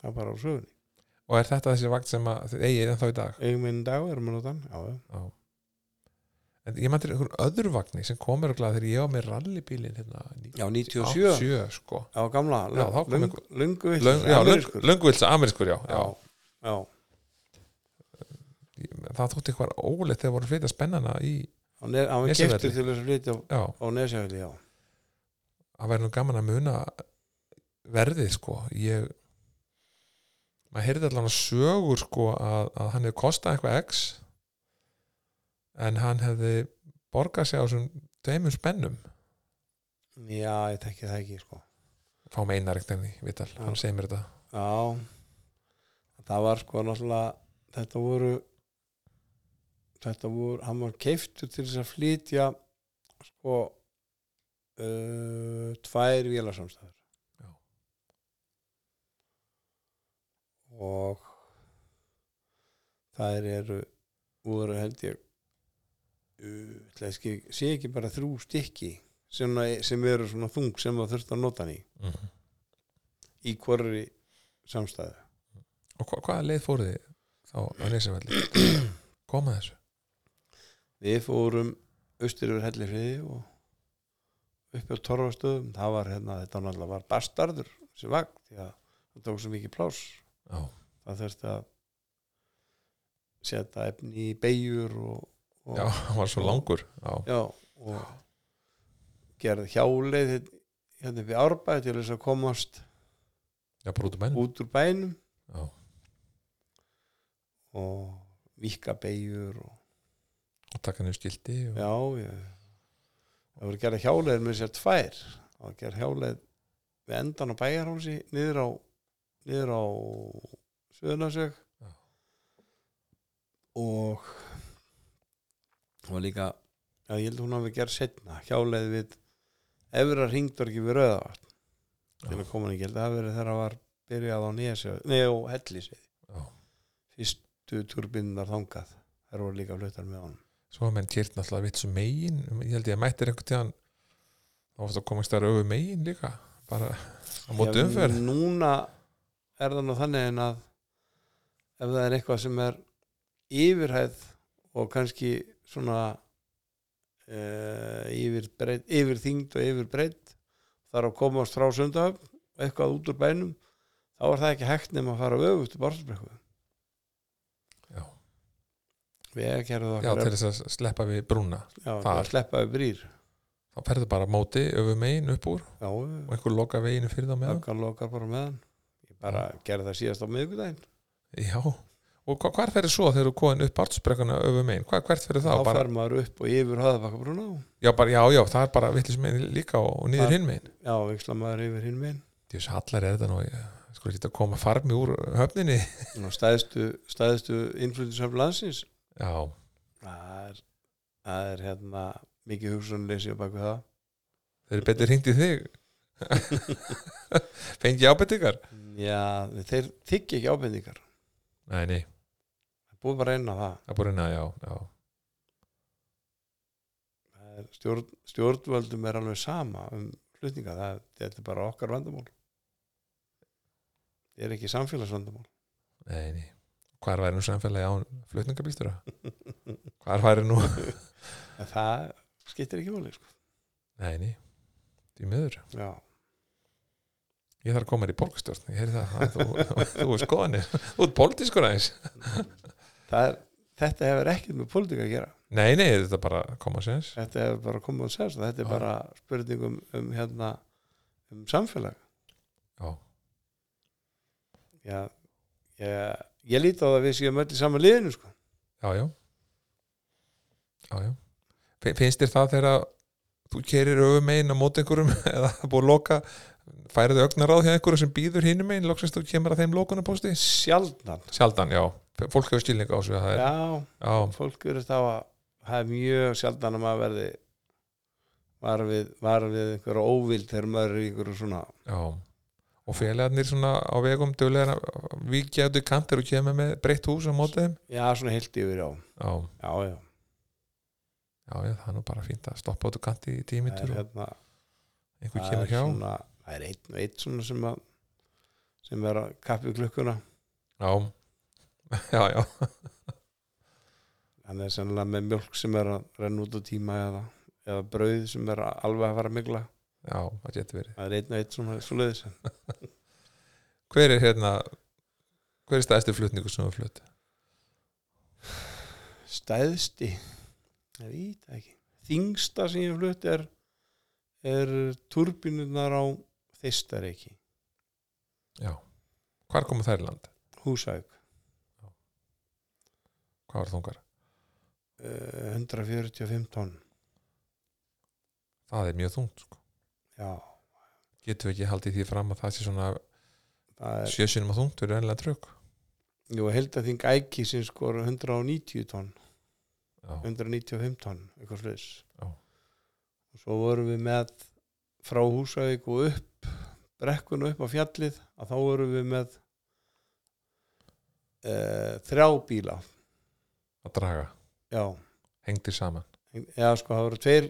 [SPEAKER 2] það er bara á sögunni
[SPEAKER 1] og er þetta þessi vagn sem að þið eigið ennþá í dag
[SPEAKER 2] eigum minn dag erum að nota hann já, já.
[SPEAKER 1] já en ég mæntir einhver öðru vagni sem komur og þegar ég á með rallybílin hérna,
[SPEAKER 2] 97
[SPEAKER 1] 97 sko
[SPEAKER 2] á gamla,
[SPEAKER 1] Já, þá kom
[SPEAKER 2] lung,
[SPEAKER 1] einhver-
[SPEAKER 2] lungu vill
[SPEAKER 1] Löng- já, löng- Lönguvilsa amerískur, já, já.
[SPEAKER 2] sko. já, já,
[SPEAKER 1] það þótti eitthvað ólegt þegar voru flytja spennana í
[SPEAKER 2] hann er, hann er
[SPEAKER 1] Nesjavelli.
[SPEAKER 2] keftur til þess að flytja á,
[SPEAKER 1] já,
[SPEAKER 2] á nesjafili, já
[SPEAKER 1] það væri nú gaman að muna verðið sko ég maður heyrði allan að sögur sko að, að hann hefði kostað eitthvað x en hann hefði borgað sig á þessum tveimur spennum
[SPEAKER 2] já, ég tekki það ekki, sko
[SPEAKER 1] fá með einar ekkert enni, vital,
[SPEAKER 2] Já.
[SPEAKER 1] hann segir mér þetta
[SPEAKER 2] Já það var sko náttúrulega þetta voru þetta voru, hann var keiftur til þess að flytja sko uh, tvær vélarsamstæður
[SPEAKER 1] Já.
[SPEAKER 2] og þær eru voru held ég uh, ætli að ske- sé ekki bara þrjú stykki sem, sem eru svona þung sem það þurft að nota hann í
[SPEAKER 1] Mhm.
[SPEAKER 2] í hvorri samstæðu
[SPEAKER 1] Og hva, hvaða leið fóruð þið þá að leysa velli? *clears throat* Koma þessu?
[SPEAKER 2] við fórum austur yfir hellifriði og upp á torfastöðum það var hérna, þetta náttúrulega var bastardur sem vagn, því að það tók svo mikið pláss
[SPEAKER 1] Já,
[SPEAKER 2] það þurfti að setja efni í beigjur og, og
[SPEAKER 1] já hann var svo langur. Já,
[SPEAKER 2] Já, og gerði hjáleið hérna við árbæði til þess að komast
[SPEAKER 1] já bara út úr bænum.
[SPEAKER 2] út úr bænum
[SPEAKER 1] Já,
[SPEAKER 2] og vika beigjur og,
[SPEAKER 1] og taka niður skildi. um Og...
[SPEAKER 2] já, ég, það voru gerði hjáleið með sér tvær og gerði hjáleið við endan á bæjarhálsi niður á niður á Suðunasög
[SPEAKER 1] Já.
[SPEAKER 2] og það var líka já, ég held að hún hafi gerð setna hjáleið við efra ringdorki við rauðavart til að koma ekki, ég held að það hafi verið þegar það var byrjað á nýjasöð, nei á hellisöð
[SPEAKER 1] Já.
[SPEAKER 2] fyrstu turbinnar þangað þær voru líka fluttar með honum
[SPEAKER 1] Svo hafa menn kýrt náttúrulega vitsum megin. Ég held ég að mættir einhvern tíðan þá ofta komast þær öfu megin líka. Bara á móti
[SPEAKER 2] Já,
[SPEAKER 1] umferð.
[SPEAKER 2] núna er það nú þannig en að ef það er eitthvað sem er yfirhæð og kannski svona uh, yfir, breyt, yfir þingd og yfir breytt þar að komast frá sundahöfn og eitthvað út úr bænum þá er það ekki hægt nema að fara öfugt í Bárhalsbrekku
[SPEAKER 1] Já.
[SPEAKER 2] Vegakerfið
[SPEAKER 1] Já,
[SPEAKER 2] okkar
[SPEAKER 1] til
[SPEAKER 2] er-
[SPEAKER 1] þess að sleppa við brúna.
[SPEAKER 2] Já, til
[SPEAKER 1] þar.
[SPEAKER 2] að sleppa við brýr
[SPEAKER 1] Þá ferðu bara á móti öfu megin upp úr
[SPEAKER 2] Já,
[SPEAKER 1] og einhver loka veginu fyrir þá meðan.
[SPEAKER 2] ökkan lokar bara meðan Ég bara gerði það síðast á miðvikudaginn
[SPEAKER 1] Já. Og hva, hvað ferðu svo þegar þú komin upp ártsbrekkuna öfu megin? Hva, hvert ferðu þá?
[SPEAKER 2] Þá
[SPEAKER 1] Bara,
[SPEAKER 2] fer maður upp og yfir hafðabakkabrúna
[SPEAKER 1] já, bara, já, já, það er bara vitlis megin líka og, og niður
[SPEAKER 2] Þar-
[SPEAKER 1] hinn megin.
[SPEAKER 2] Já, viksla maður yfir hinn minn
[SPEAKER 1] Þú veist, hallar er þetta nú, ég sko ekki að koma farmi úr höfninni.
[SPEAKER 2] og stæðstu, stæðstu innflutisöf landsins
[SPEAKER 1] Já,
[SPEAKER 2] Það er, það er hérna mikið hugsunleysi á baku það
[SPEAKER 1] þeir eru betur hringt í
[SPEAKER 2] *laughs*
[SPEAKER 1] þig. Fengi ábyrtingar?
[SPEAKER 2] Já, þeir þykja ekki ábendingar
[SPEAKER 1] Nei, nei,
[SPEAKER 2] Búið bara að reyna það
[SPEAKER 1] það búið hérna, já, já.
[SPEAKER 2] Það er Stjórn, stjórnvöldum er alveg sama um flutninga, það, þetta er bara okkar vandamál Þetta er ekki samfélagsvandamál
[SPEAKER 1] Nei, nei. Hvar væri nú samfélagi án flutningabílstjóra? Hvar væri nú?
[SPEAKER 2] en það skiptir ekki máli sko.
[SPEAKER 1] Nei, nei, því miður.
[SPEAKER 2] já,
[SPEAKER 1] Ég þarf að koma þér í borgstjórn, ég heyri það. það þú, þú er skoðanir, þú er pólitískur aðeins.
[SPEAKER 2] það er þetta hefur ekkert með pólitík að gera
[SPEAKER 1] Nei, nei, þetta er bara að koma séns.
[SPEAKER 2] þetta hefur bara komið að segja svo þetta er
[SPEAKER 1] Já.
[SPEAKER 2] bara spurning um, um hérna um samfélag
[SPEAKER 1] Já.
[SPEAKER 2] já, ég, ég líti á það að við séum öll í sama liðinu sko.
[SPEAKER 1] Já, já Já, já Fi- Finnst þér það þegar að þú kerir öfum einn á móti einhverjum *laughs* eða það er búið að loka færið augnaráð hjá einhverjum sem býður hinum einn loksins þú kemur að þeim lokunarpósti
[SPEAKER 2] sjaldnan
[SPEAKER 1] Sjaldan, já, F- fólk hefur skilning á þessu að það er,
[SPEAKER 2] já,
[SPEAKER 1] já,
[SPEAKER 2] fólk verður þá að það er mjög sjaldan að maður verði var við, var við einhverja óvild þegar maður er í einhverju svona
[SPEAKER 1] já og félagarnir svona á vegum duglega við getum kantir og kemur með breytt hús á móti þeim
[SPEAKER 2] já, svona heilt yfir, já,
[SPEAKER 1] já,
[SPEAKER 2] já, já
[SPEAKER 1] já, já, það er nú bara fínt að stoppa út og kanti í
[SPEAKER 2] það
[SPEAKER 1] tímitur
[SPEAKER 2] er
[SPEAKER 1] og
[SPEAKER 2] hérna
[SPEAKER 1] einhver
[SPEAKER 2] það
[SPEAKER 1] kemur
[SPEAKER 2] er
[SPEAKER 1] hjá
[SPEAKER 2] svona, það er einn og einn svona sem að sem er að kappi klukkuna
[SPEAKER 1] já, *laughs* já, já
[SPEAKER 2] hann er sennilega með mjölk sem er að renna út á tíma eða, eða brauð sem er að alveg að fara að migla
[SPEAKER 1] já, það getur verið
[SPEAKER 2] það er einn og einn svona svoleiðis
[SPEAKER 1] hver er hérna hver er stæðstu flutningur sem þú flutt
[SPEAKER 2] stæðsti ég veit það ekki þingsta sem ég flutt er er turbinurnar á þeistareiki,
[SPEAKER 1] hvar komu þær í land,
[SPEAKER 2] húsauk
[SPEAKER 1] hvað var þungar
[SPEAKER 2] eh, 145 tonn
[SPEAKER 1] það er mjög þungt sko.
[SPEAKER 2] já,
[SPEAKER 1] getum við ekki haldið því fram að það sé svona
[SPEAKER 2] það er
[SPEAKER 1] sjösunum að þungt fyrir ennilega trökk
[SPEAKER 2] jú, held að þing æki sem skor 190 tonn
[SPEAKER 1] já,
[SPEAKER 2] 195 tonn, eitthvað sluðis
[SPEAKER 1] Já.
[SPEAKER 2] og svo vorum við með frá Húsavík og upp brekkun upp á fjallið að þá vorum við með e, þrjá bíla
[SPEAKER 1] að draga,
[SPEAKER 2] já,
[SPEAKER 1] hengdir saman
[SPEAKER 2] já sko það voru tveir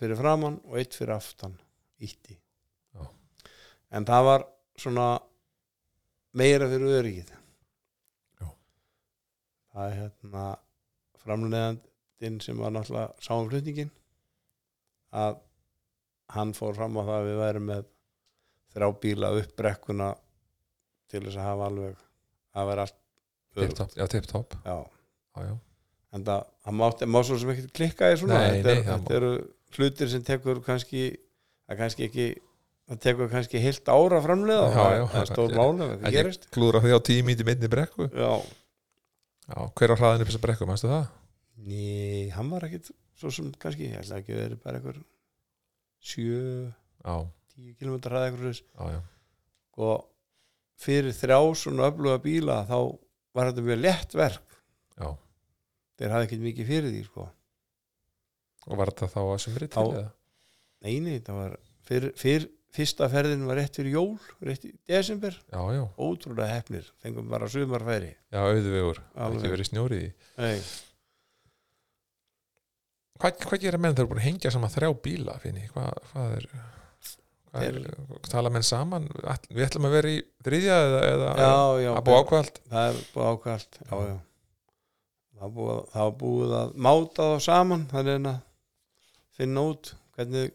[SPEAKER 2] fyrir framann og eitt fyrir aftan ítti
[SPEAKER 1] Já.
[SPEAKER 2] en það var svona meira fyrir öryggið
[SPEAKER 1] Já.
[SPEAKER 2] það er hérna framlegandinn sem var náttúrulega sá um flutningin að hann fór fram á það að við værum með þrjá bíla upp brekkuna til þess að hafa alveg að vera allt öruggt.
[SPEAKER 1] tip-top, já, tip-top
[SPEAKER 2] já
[SPEAKER 1] já, já.
[SPEAKER 2] en það, það má, það má svo sem ekkert klikka í svona
[SPEAKER 1] Nei,
[SPEAKER 2] þetta, er,
[SPEAKER 1] nei, það má-
[SPEAKER 2] þetta eru hlutir sem tekur kannski það kannski ekki það tekur kannski heilt ára framlega
[SPEAKER 1] Já, já,
[SPEAKER 2] það er stór
[SPEAKER 1] það-
[SPEAKER 2] málum, það
[SPEAKER 1] ekki-
[SPEAKER 2] gerist
[SPEAKER 1] klúðra því á tíu míti minni brekku
[SPEAKER 2] já,
[SPEAKER 1] já, hver á hraðinu upp þessa brekku, mannstu það?
[SPEAKER 2] ný, hann var ekkit svo sem kannski, ég ætla ekki að vera bara einhver 7,
[SPEAKER 1] já,
[SPEAKER 2] 10 km hraði eitthvað svoleiðis.
[SPEAKER 1] já, já,
[SPEAKER 2] og fyrir þrjá svona öfluga bíla þá var þetta mjög lett verk
[SPEAKER 1] já
[SPEAKER 2] þeir hafði ekkert mikið fyrir því sko.
[SPEAKER 1] og var þetta þá að sumri til
[SPEAKER 2] Þá-
[SPEAKER 1] eða?
[SPEAKER 2] neini, þetta var fyrir, fyrir, fyrsta ferðin var rétt fyrir jól rétt í desember
[SPEAKER 1] já, já,
[SPEAKER 2] ótrúlega hefnir, fengum bara sumarfæri
[SPEAKER 1] já, auðvegur
[SPEAKER 2] Alveg.
[SPEAKER 1] ekki verið snjórið í því.
[SPEAKER 2] Nei,
[SPEAKER 1] hvað, hvað gera menn, þeir eru búin að hengja saman þrjá bíla finni, hvað, hvað er hvað er, tala menn saman Ætl- við ætlum að vera í þriðja eða, eða
[SPEAKER 2] já, já,
[SPEAKER 1] að búa ákvælt
[SPEAKER 2] það er búið ákvælt já, já það var búið, það var búið að máta þá saman þannig en að finna út hvernig,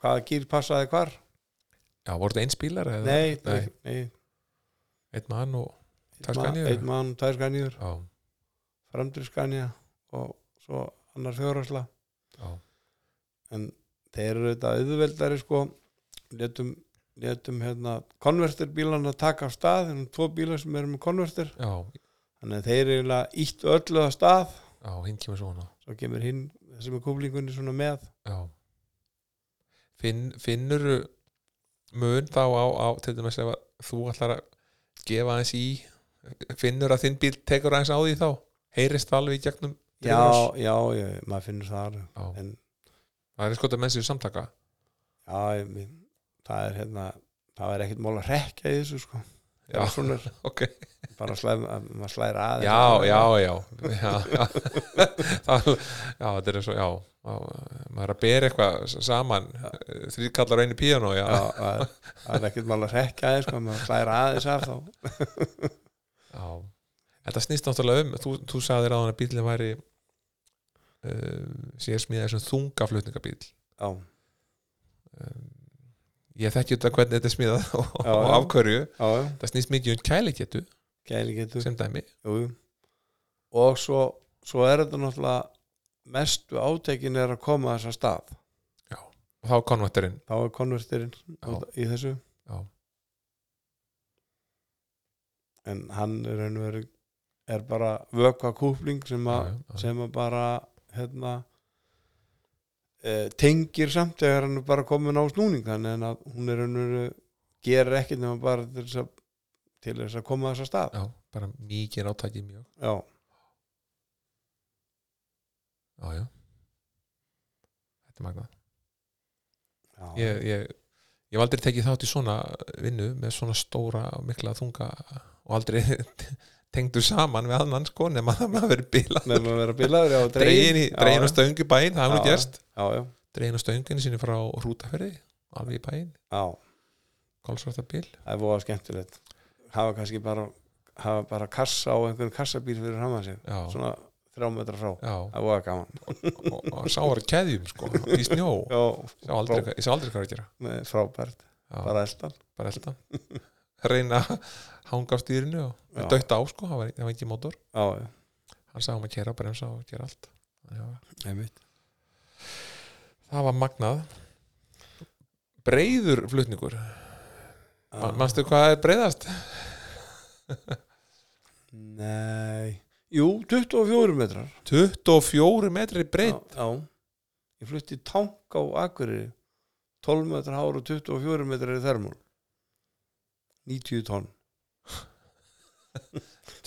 [SPEAKER 2] hvaða gýr passaði hvar
[SPEAKER 1] já, voru þetta eins bílar eða
[SPEAKER 2] nei, nei,
[SPEAKER 1] nei.
[SPEAKER 2] nei
[SPEAKER 1] einn mann og Tvær
[SPEAKER 2] einn ma-
[SPEAKER 1] Scaniur?
[SPEAKER 2] einn mann, tvær skanjur
[SPEAKER 1] já,
[SPEAKER 2] framdurskanja og svo annar fjórasla
[SPEAKER 1] já,
[SPEAKER 2] en þeir eru þetta auðveldari sko letum, letum hérna konverterbílana taka af stað þeir eru tvo bíla sem eru með konverter
[SPEAKER 1] já,
[SPEAKER 2] þannig að þeir eru eiginlega ítt öllu af stað
[SPEAKER 1] já, hinn kemur svona
[SPEAKER 2] svo kemur hinn sem er kúflingunni svona með
[SPEAKER 1] já Finn, finnur mun þá á, á til dæmis ef að þú ætlar að gefa aðeins í finnur að þinn bíl tekur aðeins á því þá heyrist það alveg í gegnum
[SPEAKER 2] já,
[SPEAKER 1] tilraunars-
[SPEAKER 2] já, já, maður finnur það alveg
[SPEAKER 1] Já.
[SPEAKER 2] en
[SPEAKER 1] það er skoða menn sem samtaka
[SPEAKER 2] já, ég, minn- það er hérna það er ekkert mál að rekja í þessu sko
[SPEAKER 1] Já. *laughs*
[SPEAKER 2] Þegar svona er,
[SPEAKER 1] ok,
[SPEAKER 2] bara slæð, að- maður slæðir aðeins
[SPEAKER 1] já, já, já, já. *laughs* Það, já, þetta er eins og já, já, maður er að bera eitthvað saman, þrýkallar einu píano, já,
[SPEAKER 2] Já, það er- það er ekkert mál að rekja aðeins sko, maður slæðir aðeins af þá
[SPEAKER 1] já. Þetta snýst náttúrulega um, þú, þú sagðir að hann að bílinn væri uh, sér smíða þessum þungaflutningabíl
[SPEAKER 2] já,
[SPEAKER 1] um, ég þekki þetta hvernig þetta er smíðað *laughs* og,
[SPEAKER 2] Já,
[SPEAKER 1] og
[SPEAKER 2] já.
[SPEAKER 1] af hverju,
[SPEAKER 2] já, já,
[SPEAKER 1] það snýst mikið um kælikettu
[SPEAKER 2] gæli getur
[SPEAKER 1] sem dæmi,
[SPEAKER 2] jú, jú. og svo, svo er þetta náttúrulega mestu átekin er að koma þess að stað
[SPEAKER 1] og þá konvætturinn
[SPEAKER 2] þá er konvertirinn út- í þessu
[SPEAKER 1] Já.
[SPEAKER 2] en hann er, raun og veru- er bara vökva kúpling sem, að, sem að bara hérna e, tengir samt þegar hann er bara komin á snúning þannig að hún er önnur gerir ekkert nema bara til þess að, til þess að koma þess að stað
[SPEAKER 1] já, bara mikið átaki mjög
[SPEAKER 2] já,
[SPEAKER 1] já, já þetta er magnað
[SPEAKER 2] já,
[SPEAKER 1] ég, ég, ég hef aldrei tekið þátt í svona vinnu með svona stóra og mikla þunga og aldrei *laughs* tengdur saman við annan sko nema að maður verið bílað
[SPEAKER 2] nefnum að vera bilaður já,
[SPEAKER 1] dregin, í,
[SPEAKER 2] Já,
[SPEAKER 1] dregin á
[SPEAKER 2] já.
[SPEAKER 1] stöngu bæinn, það hefur
[SPEAKER 2] Já,
[SPEAKER 1] gerst
[SPEAKER 2] já, já,
[SPEAKER 1] dregin á stönginu sinni frá Rútaferði alveg í bæinn,
[SPEAKER 2] já,
[SPEAKER 1] kálsvarta bíl
[SPEAKER 2] það er voða skemmtilegt hafa kannski bara hafa bara kassa á einhvern kassabíl fyrir hama sig
[SPEAKER 1] já,
[SPEAKER 2] svona þrjá metra frá
[SPEAKER 1] já,
[SPEAKER 2] það er voða gaman
[SPEAKER 1] og, og sáar keðjum sko í snjó,
[SPEAKER 2] já,
[SPEAKER 1] sá aldrei, hvað- ég sá aldrei hvað er að gera
[SPEAKER 2] með- frábært,
[SPEAKER 1] já,
[SPEAKER 2] bara eldan
[SPEAKER 1] bara elda reyna að hanga á stýrinu
[SPEAKER 2] Já.
[SPEAKER 1] og dötta á sko, það var, það var ekki mótor
[SPEAKER 2] já, já,
[SPEAKER 1] hann sagði um að kera, bremsa og gera allt já,
[SPEAKER 2] einmitt
[SPEAKER 1] það var magnað breiður flutningur Ma- manstu hvað er breiðast
[SPEAKER 2] nei, jú, 24 metrar
[SPEAKER 1] 24 metri breitt
[SPEAKER 2] já, já, ég flutti í tank á Akureyri 12 metra hár og 24 metrar í þermól 90
[SPEAKER 1] *laughs*
[SPEAKER 2] tonn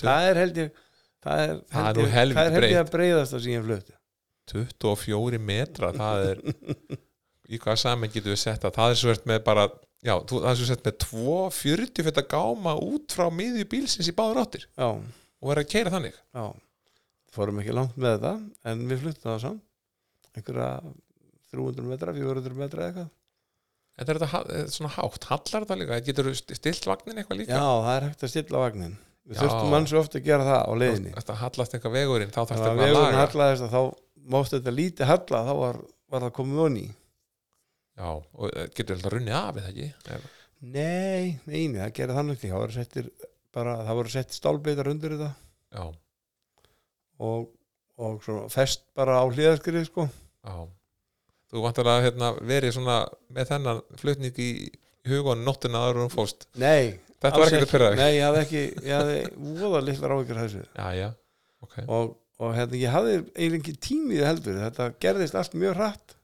[SPEAKER 2] það er held ég það
[SPEAKER 1] Það
[SPEAKER 2] er,
[SPEAKER 1] er
[SPEAKER 2] held
[SPEAKER 1] nú
[SPEAKER 2] ég-
[SPEAKER 1] helvíti
[SPEAKER 2] það er held ég að breyðast það sem ég flutti
[SPEAKER 1] 24 metra það er í hvað saman getum við sett að það er svert með bara já, þú, það er svo sett með 240 fyrir að gáma út frá miðju bílsins í báður áttir
[SPEAKER 2] já,
[SPEAKER 1] og vera að keira þannig
[SPEAKER 2] já fórum ekki langt með þetta en við fluttum það samt einhverja 300 metra, 400 metra eða eitthvað
[SPEAKER 1] Þetta er þetta ha- eh, svona hátt, hallar þetta líka getur stilt vagnin eitthvað líka
[SPEAKER 2] Já, það er hægt að stilla vagnin Við
[SPEAKER 1] Já.
[SPEAKER 2] þurftum mann svo ofta að gera það á leiðinni
[SPEAKER 1] Þetta hallast eitthvað vegurinn, þá þarfst
[SPEAKER 2] Þannig að
[SPEAKER 1] eitthvað að
[SPEAKER 2] vegurinn
[SPEAKER 1] laga
[SPEAKER 2] hallaðist að þá mást þetta lítið halla þá var, var það komið onni
[SPEAKER 1] Já, og eh, getur þetta runnið af eða ekki Ef-
[SPEAKER 2] Nei, neini, það gerði þannig ekki það voru settir bara, það voru sett stálbeitar undir þetta
[SPEAKER 1] Já,
[SPEAKER 2] og, og svona fest bara á hliðaskrið sko
[SPEAKER 1] já Þú vantar að hérna, verið svona með þennan flutning í hugun nóttina aður um fóst
[SPEAKER 2] Nei,
[SPEAKER 1] Þetta
[SPEAKER 2] alls
[SPEAKER 1] var ekkert að pyrra þig
[SPEAKER 2] Nei, ég hafði ekki, ég hafði voða litlar áhyggjur af þessu
[SPEAKER 1] Já, já, ok
[SPEAKER 2] og, og hérna, ég hafði eiginlega ekki tímið heldur, þetta gerðist allt
[SPEAKER 1] *laughs*
[SPEAKER 2] mjög hratt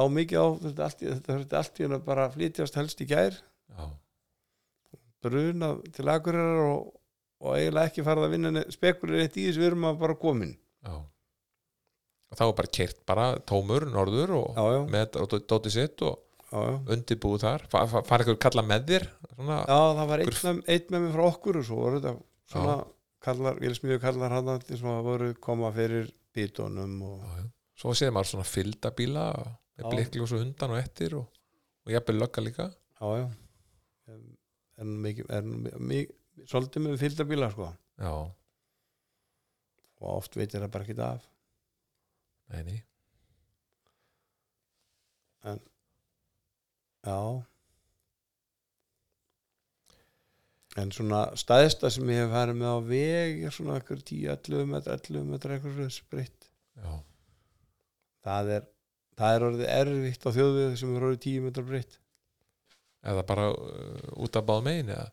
[SPEAKER 2] lá mikið á þetta allt, í- þetta þurfti allt í hérna bara að flytjast helst í gær
[SPEAKER 1] Já,
[SPEAKER 2] bruna til akurirar og, og eiginlega ekki farið að vinna spekulir eitt í þessu, við erum að bara komin
[SPEAKER 1] já Og þá er bara kert bara tómur, norður og
[SPEAKER 2] já, já, já,
[SPEAKER 1] með þetta og dó- dótið sitt og
[SPEAKER 2] já.
[SPEAKER 1] undirbúið þar Fa- fa- fara eitthvað kalla með þér svona,
[SPEAKER 2] já það var
[SPEAKER 1] Hver-
[SPEAKER 2] einn með, einn með mig frá okkur og svo voru þetta svona kallar, ég smíðu kallar hann sem að voru koma fyrir bítunum og
[SPEAKER 1] já, já. svo séð maður svona fylgdabíla með
[SPEAKER 2] Já.
[SPEAKER 1] blikkljós og undan og eftir og, og jafnvel lögga líka
[SPEAKER 2] Já, já En- En mikið, er nú mi- mi- svolítið með fylgdabíla sko
[SPEAKER 1] já,
[SPEAKER 2] og oft veitir það bara ekki af
[SPEAKER 1] nei, nei
[SPEAKER 2] Já En svona staðista sem ég hef farið með á veg er svona ekkur 10-11 metra 11 metra eitthvað svona spritt
[SPEAKER 1] já,
[SPEAKER 2] það er, það er orðið erfitt á þjóðveg sem er orðið 10 metra breytt
[SPEAKER 1] eða bara uh, út af báð megin eða,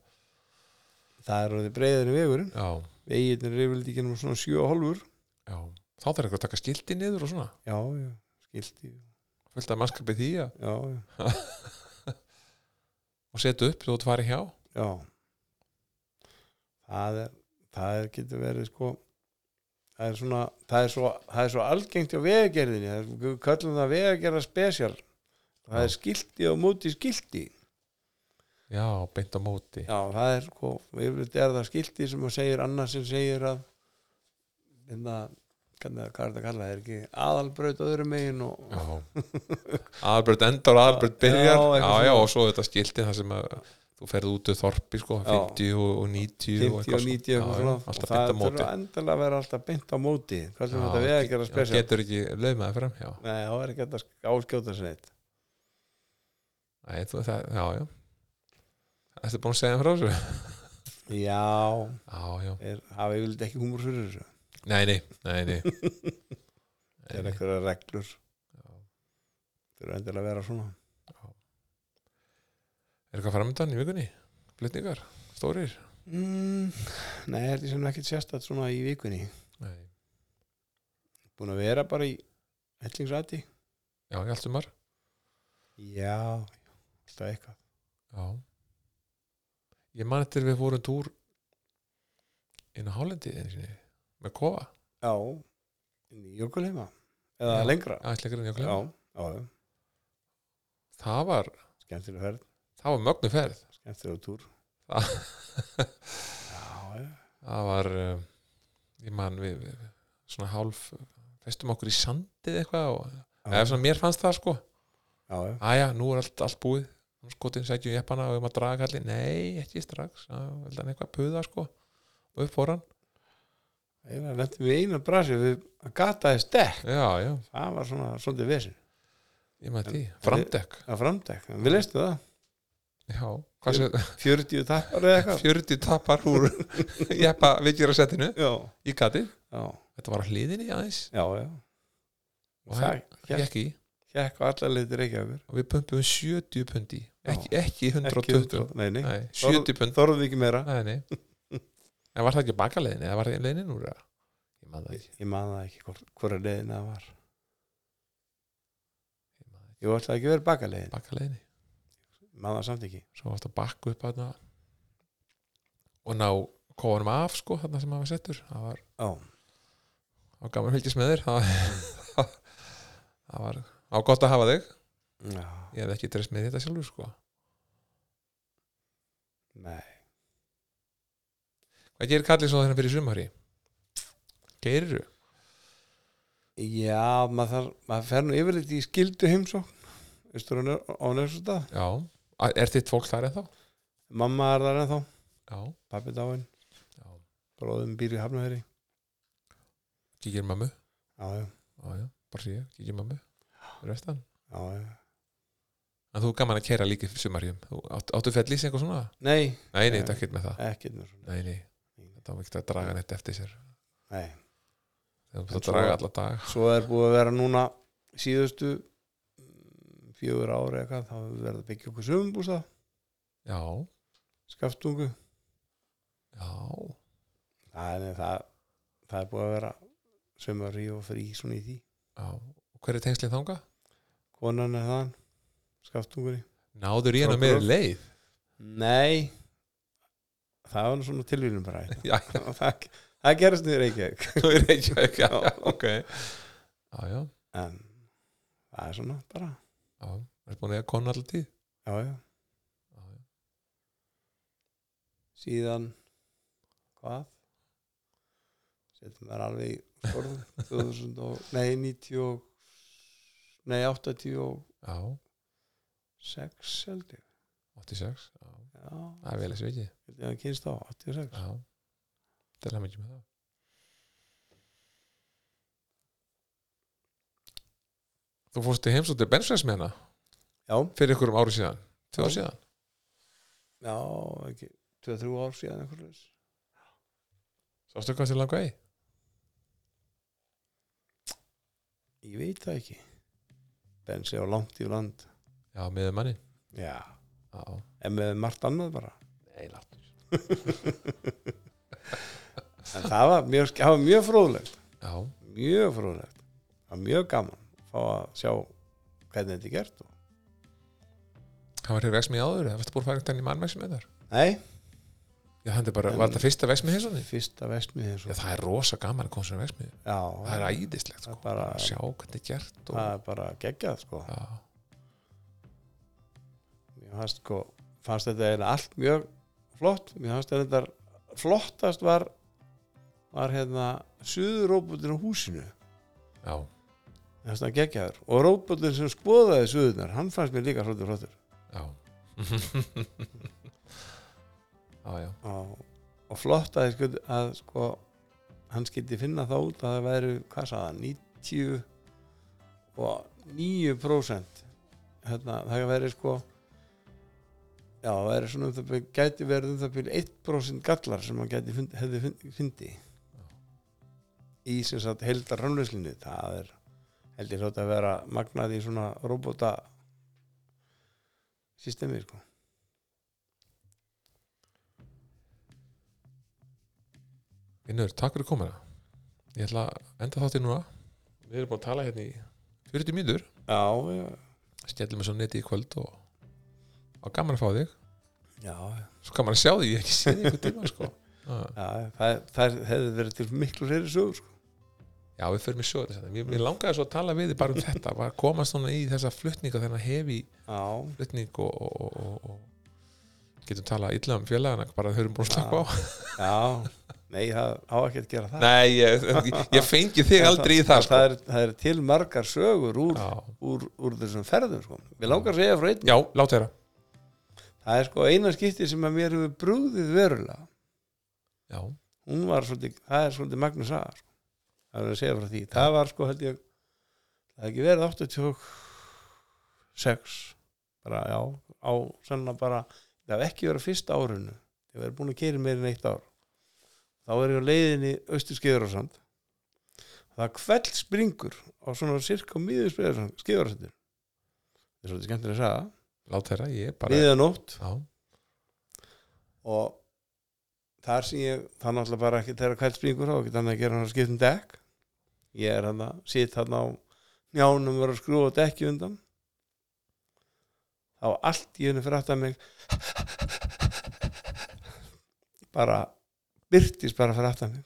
[SPEAKER 2] það er orðið breiðin vegurinn
[SPEAKER 1] já,
[SPEAKER 2] veginir er yfirleitt ekki nema svona 7,5
[SPEAKER 1] já þá þarf eitthvað að taka skildi niður og svona
[SPEAKER 2] Já, já, skilti
[SPEAKER 1] fullt að mannskapi því að
[SPEAKER 2] Já, já,
[SPEAKER 1] og setja upp þú ert farið hjá
[SPEAKER 2] Já það er, það er getur verið sko það er svona það er svo, það er svo algengt á vegagerðinni það er, við kallum það vegagerða spesial
[SPEAKER 1] Já.
[SPEAKER 2] það er skilti og móti skilti
[SPEAKER 1] já, beint á móti
[SPEAKER 2] já, það er sko, yfirleitt er það skilti sem að segir annars sem segir að hérna hvernig, hvað er það að kalla, það er ekki aðalbraut öðru megin og
[SPEAKER 1] já aðalbröð endar og aðalbröð byrjar já,
[SPEAKER 2] Já, eitthvað
[SPEAKER 1] já,
[SPEAKER 2] svona.
[SPEAKER 1] og svo þetta skildi það sem að þú ferð út úr þorpi sko,
[SPEAKER 2] Já.
[SPEAKER 1] 50 og, og 90
[SPEAKER 2] 50 og
[SPEAKER 1] eitthvað svona.
[SPEAKER 2] 90 og,
[SPEAKER 1] Já, já,
[SPEAKER 2] svona, og
[SPEAKER 1] alltaf
[SPEAKER 2] það
[SPEAKER 1] beint á
[SPEAKER 2] þurfa
[SPEAKER 1] móti
[SPEAKER 2] endalega að vera alltaf beint á móti hvað sem
[SPEAKER 1] Já,
[SPEAKER 2] þetta vegagerða
[SPEAKER 1] já,
[SPEAKER 2] spesial
[SPEAKER 1] getur ekki laumaði fram já,
[SPEAKER 2] nei, það er ekki hægt að áskjóta sér neitt
[SPEAKER 1] Nei, þú, það, já, já Þetta er búin að segja frá þessu
[SPEAKER 2] já,
[SPEAKER 1] Já, já,
[SPEAKER 2] er, hafa yfirleitt ekki húmur fyrir þessu
[SPEAKER 1] nei, nei, nei,
[SPEAKER 2] *laughs*
[SPEAKER 1] nei.
[SPEAKER 2] það er
[SPEAKER 1] nei.
[SPEAKER 2] einhverja reglur
[SPEAKER 1] Já.
[SPEAKER 2] þurfa endilega að vera svona
[SPEAKER 1] Er eitthvað framöndan í vikunni? Flutningar, stórir
[SPEAKER 2] mm, nei, það er því sem ekkert sérstætt svona í vikunni
[SPEAKER 1] nei.
[SPEAKER 2] búin að vera bara í hellingsræti
[SPEAKER 1] Já, í allt um sumar
[SPEAKER 2] já, alltaf eitthvað
[SPEAKER 1] Já Ég man eftir við fórum túr inn á Hálendi einu sinni, með kofa,
[SPEAKER 2] já, inn í Jökulheima eða
[SPEAKER 1] Já.
[SPEAKER 2] lengra
[SPEAKER 1] aðeinsleikar en ég
[SPEAKER 2] já,
[SPEAKER 1] klem
[SPEAKER 2] já, já.
[SPEAKER 1] Það var,
[SPEAKER 2] skemmtileg ferð,
[SPEAKER 1] það var mögnu ferð
[SPEAKER 2] skemmtileg túr
[SPEAKER 1] Já.
[SPEAKER 2] Ah. já, já,
[SPEAKER 1] Það var eh, ég man við, við svona hálf, festum okkur í sandið eitthvað og, eða svona mér fannst það sko
[SPEAKER 2] já, já.
[SPEAKER 1] Æja, nú er allt, allt búið Nú skotin sækjum jeppana og við maður draga allir Nei, ekki strax Það veldi hann eitthvað að puða sko og upp fór hann
[SPEAKER 2] eiginlega lendum við í eina brasi við gataði stekk,
[SPEAKER 1] Já, já,
[SPEAKER 2] það var svona svolítið vesinn,
[SPEAKER 1] ég maður því Framdekk
[SPEAKER 2] það framdekk en við leistum það
[SPEAKER 1] Já, hvað sem
[SPEAKER 2] 40 tappar eða eitthvað
[SPEAKER 1] 40 tapar úr *laughs* jeppa vikjur að setinu
[SPEAKER 2] já,
[SPEAKER 1] í gatið
[SPEAKER 2] já,
[SPEAKER 1] Þetta var á hliðinni aðeins
[SPEAKER 2] já, já.
[SPEAKER 1] Og
[SPEAKER 2] það
[SPEAKER 1] Ég ekki
[SPEAKER 2] gekk á alla leitir ekki að vera
[SPEAKER 1] og við pumpum 70 pundi ekki, ekki 120
[SPEAKER 2] 100, nei, nei.
[SPEAKER 1] Nei, 70 pund
[SPEAKER 2] þorðum ekki meira
[SPEAKER 1] Nei, nei En var það ekki bakaleiðin eða var það leiðin úr það? Ég man það
[SPEAKER 2] ég,
[SPEAKER 1] ekki
[SPEAKER 2] ég man það ekki hvort, hvora leiðin það var
[SPEAKER 1] Ég man það ekki.
[SPEAKER 2] ég var alltaf ekki verið bakaleiðin
[SPEAKER 1] Bakaleiðinni
[SPEAKER 2] ég man það samt ekki
[SPEAKER 1] svo varst að bakka upp þarna og ná kóðanum af sko þarna sem hann var settur það var,
[SPEAKER 2] já,
[SPEAKER 1] það var gaman að fylgjast með þér *laughs* það, það var á gott að hafa þig
[SPEAKER 2] já,
[SPEAKER 1] ég hefði ekki dreist með þetta sjálfur sko
[SPEAKER 2] nei
[SPEAKER 1] hvað gerir kallið svo þennan fyrir sumari? Geirir
[SPEAKER 2] Já, maður, þar, maður fer nú yfirleitt í skildu heimsókn Ístur á næstu stað
[SPEAKER 1] Já, A- er þitt fólk þar ennþá?
[SPEAKER 2] Mamma er þar ennþá,
[SPEAKER 1] Já,
[SPEAKER 2] pappi dáin
[SPEAKER 1] já,
[SPEAKER 2] Bróðum býr í Hafnaheri
[SPEAKER 1] kíkir mammu
[SPEAKER 2] Já, já,
[SPEAKER 1] Já, já, bara sé ég, kíkir mammu Restan
[SPEAKER 2] já, já
[SPEAKER 1] En þú er gaman að kæra líka fyrir sumarjum Þú átt, Áttu fett lýsing og svona?
[SPEAKER 2] Nei,
[SPEAKER 1] Nei, nei,
[SPEAKER 2] Nei.
[SPEAKER 1] þetta er ekkert með það
[SPEAKER 2] ekkert með svona
[SPEAKER 1] Nei, nei, þetta var ekkert að draga neitt eftir sér
[SPEAKER 2] Nei,
[SPEAKER 1] Það
[SPEAKER 2] En
[SPEAKER 1] var að
[SPEAKER 2] svo-
[SPEAKER 1] draga alla dag
[SPEAKER 2] svo er búið að vera núna síðustu mm, fjögur ári eitthvað, þá hefur verið að byggja okkur sömumbústa,
[SPEAKER 1] Já,
[SPEAKER 2] skaftungu
[SPEAKER 1] já,
[SPEAKER 2] Það er það, það er búið að vera sömari og frí svona í því
[SPEAKER 1] já Og Hver er tengslið þanga?
[SPEAKER 2] Konan er þaðan, skaftungunni
[SPEAKER 1] Náður í hennar
[SPEAKER 2] Strákur.
[SPEAKER 1] meiri leið
[SPEAKER 2] Nei Það var nú svona tilvílum bara
[SPEAKER 1] *laughs* Já,
[SPEAKER 2] það, það gerist niður Reykjavík
[SPEAKER 1] *laughs* þú er ekki Já, já, ok Já, já,
[SPEAKER 2] En það er svona bara
[SPEAKER 1] já, er búin að eiga konu alltaf tíð
[SPEAKER 2] Já, já,
[SPEAKER 1] Já, já.
[SPEAKER 2] síðan Hvað? Settum þær alveg í skorðum 2000 og, nei, 90 og Nei, 86
[SPEAKER 1] Já,
[SPEAKER 2] held ég
[SPEAKER 1] 86 já.
[SPEAKER 2] Já,
[SPEAKER 1] Það er vel að sveiki
[SPEAKER 2] held ég að kynst á 86
[SPEAKER 1] Já, til hann ekki með það Þú fórst í heimsóttir Bensveins með hana
[SPEAKER 2] Já,
[SPEAKER 1] fyrir ykkur um ári síðan Tvö ár
[SPEAKER 2] Já.
[SPEAKER 1] síðan
[SPEAKER 2] já, ekki 2-3 ár síðan einhvern veginn
[SPEAKER 1] Sástu hvað til langa í?
[SPEAKER 2] Ég veit það ekki Bensi á langt í land
[SPEAKER 1] Já, með manni
[SPEAKER 2] Já,
[SPEAKER 1] Já,
[SPEAKER 2] en með margt annað bara
[SPEAKER 1] nei, láttur
[SPEAKER 2] En það var mjög, það var mjög fróðlegt
[SPEAKER 1] Já,
[SPEAKER 2] mjög fróðlegt það var mjög gaman að fá að sjá hvernig þetta er gert og...
[SPEAKER 1] hann var hér vex með áður eða varstu búin að fara þannig í mannvexin með þar?
[SPEAKER 2] Nei,
[SPEAKER 1] Já, hann er bara,
[SPEAKER 2] En-
[SPEAKER 1] var þetta fyrsta vex með heimsóttir?
[SPEAKER 2] fyrsta vestmið
[SPEAKER 1] Já,
[SPEAKER 2] svo...
[SPEAKER 1] það er rosa gaman að koma sér vex með
[SPEAKER 2] Já,
[SPEAKER 1] Það er æðislegt,
[SPEAKER 2] það
[SPEAKER 1] sko
[SPEAKER 2] er bara,
[SPEAKER 1] að sjá hvernig er gert og...
[SPEAKER 2] það er bara geggjað sko.
[SPEAKER 1] Já,
[SPEAKER 2] Mér fannst, sko, fannst þetta eiginlega allt mjög flott Mér fannst þetta flottast var var hérna suðuróputin á húsinu
[SPEAKER 1] já,
[SPEAKER 2] Mér fannst það geggjaður og róputin sem skoðaði suðunar hann fannst mér líka svolítið flottur
[SPEAKER 1] já *laughs* Já, já,
[SPEAKER 2] og, og flott að, skur, að sko, hann skyldi finna það út að það væru, hvað sagði hann, 90 og 9% hérna, það væri sko já, það væri svona um það byrja, gæti verið um það byrja 1% gallar sem hann gæti fund, hefði fund- fundi í sem sagt heldar rannleyslinu, það er held ég hljótt að vera magnað í svona robota systemi sko
[SPEAKER 1] Vinnur, takk fyrir komuna Ég ætla að enda þáttið núna Við erum búin að tala hérna í 40 mínútur
[SPEAKER 2] já, já,
[SPEAKER 1] Skellum við svo neti í kvöld og og gaman að fá þig
[SPEAKER 2] já, já
[SPEAKER 1] Svo gaman að sjá þig, ég hef ekki séð þig ykkur tíma sko. Ah.
[SPEAKER 2] Já, það, það hefði verið til miklu reyri sögur sko.
[SPEAKER 1] Já, við förum í sjóður Mér mér langaði svo að tala við þig bara um þetta bara komast svona í þessa flutninga þennan hefi
[SPEAKER 2] Já,
[SPEAKER 1] flutning og, og, og, og, og getum talað illa um félagana bara að höfum búin að slaka á
[SPEAKER 2] já Nei, það á ekki að gera það
[SPEAKER 1] Ah. Nei, ég, ég fengi þig aldrei í það sko.
[SPEAKER 2] það, er, það er til margar sögur úr,
[SPEAKER 1] Já,
[SPEAKER 2] úr, úr þessum ferðum sko. Við langar að segja frá einn
[SPEAKER 1] já lát þeirra
[SPEAKER 2] Það er sko eina skipti sem að mér hefur brúðið verulega
[SPEAKER 1] Já,
[SPEAKER 2] Hún var svolítið, það er svolítið Magnús Saga sko. Það er að segja frá því Það var sko, held ég Það er ekki verið 86 bara, já, á sennan bara, það hef ekki verið á fyrsta árinu ég verið búin að keiri meir en eitt ár þá er ég á leiðinni austur skeiðurársand það kveld springur á svona cirka miður skeiðurársandir það er svolítið skemmtilega að sagða
[SPEAKER 1] lát þeirra, ég bara
[SPEAKER 2] miðanótt
[SPEAKER 1] Já,
[SPEAKER 2] og þar sem ég það náttúrulega bara ekki þegar kveld springur þá ekki þannig að gera hann að skipta um dekk ég er hann að sitt hann á njánum vera að skrúa dekki undan þá allt í henni fyrir aftan mig *laughs* bara byrtist bara fyrir aftan mig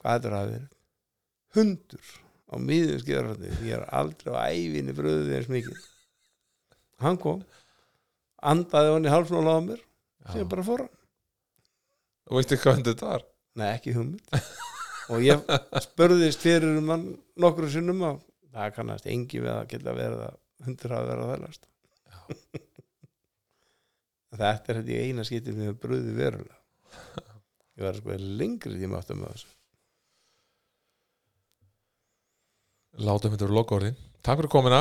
[SPEAKER 2] hvað þetta er að vera hundur á miðum skjörfandi ég er aldrei á ævinni bröðið eins mikið hann kom andaði hann í hálfnóla á mér
[SPEAKER 1] já.
[SPEAKER 2] sem bara fór hann
[SPEAKER 1] Veistu hvað þetta var?
[SPEAKER 2] Nei, ekki hugmynd og ég spurðist fyrir um hann nokkru sinnum að það kannast engi við að geta verið að hundur hafa verið að þærlast þetta er þetta í eina skipti sem ég brúði verulega ég var sko í lengri tíma áttum með þessu
[SPEAKER 1] Látum þetta úr lokaorðin Takk fyrir komina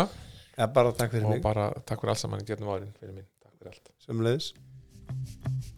[SPEAKER 2] eða bara takk fyrir
[SPEAKER 1] og
[SPEAKER 2] mig
[SPEAKER 1] bara takk fyrir allt saman í getnum árin fyrir mín Takk fyrir allt
[SPEAKER 2] sem leiðis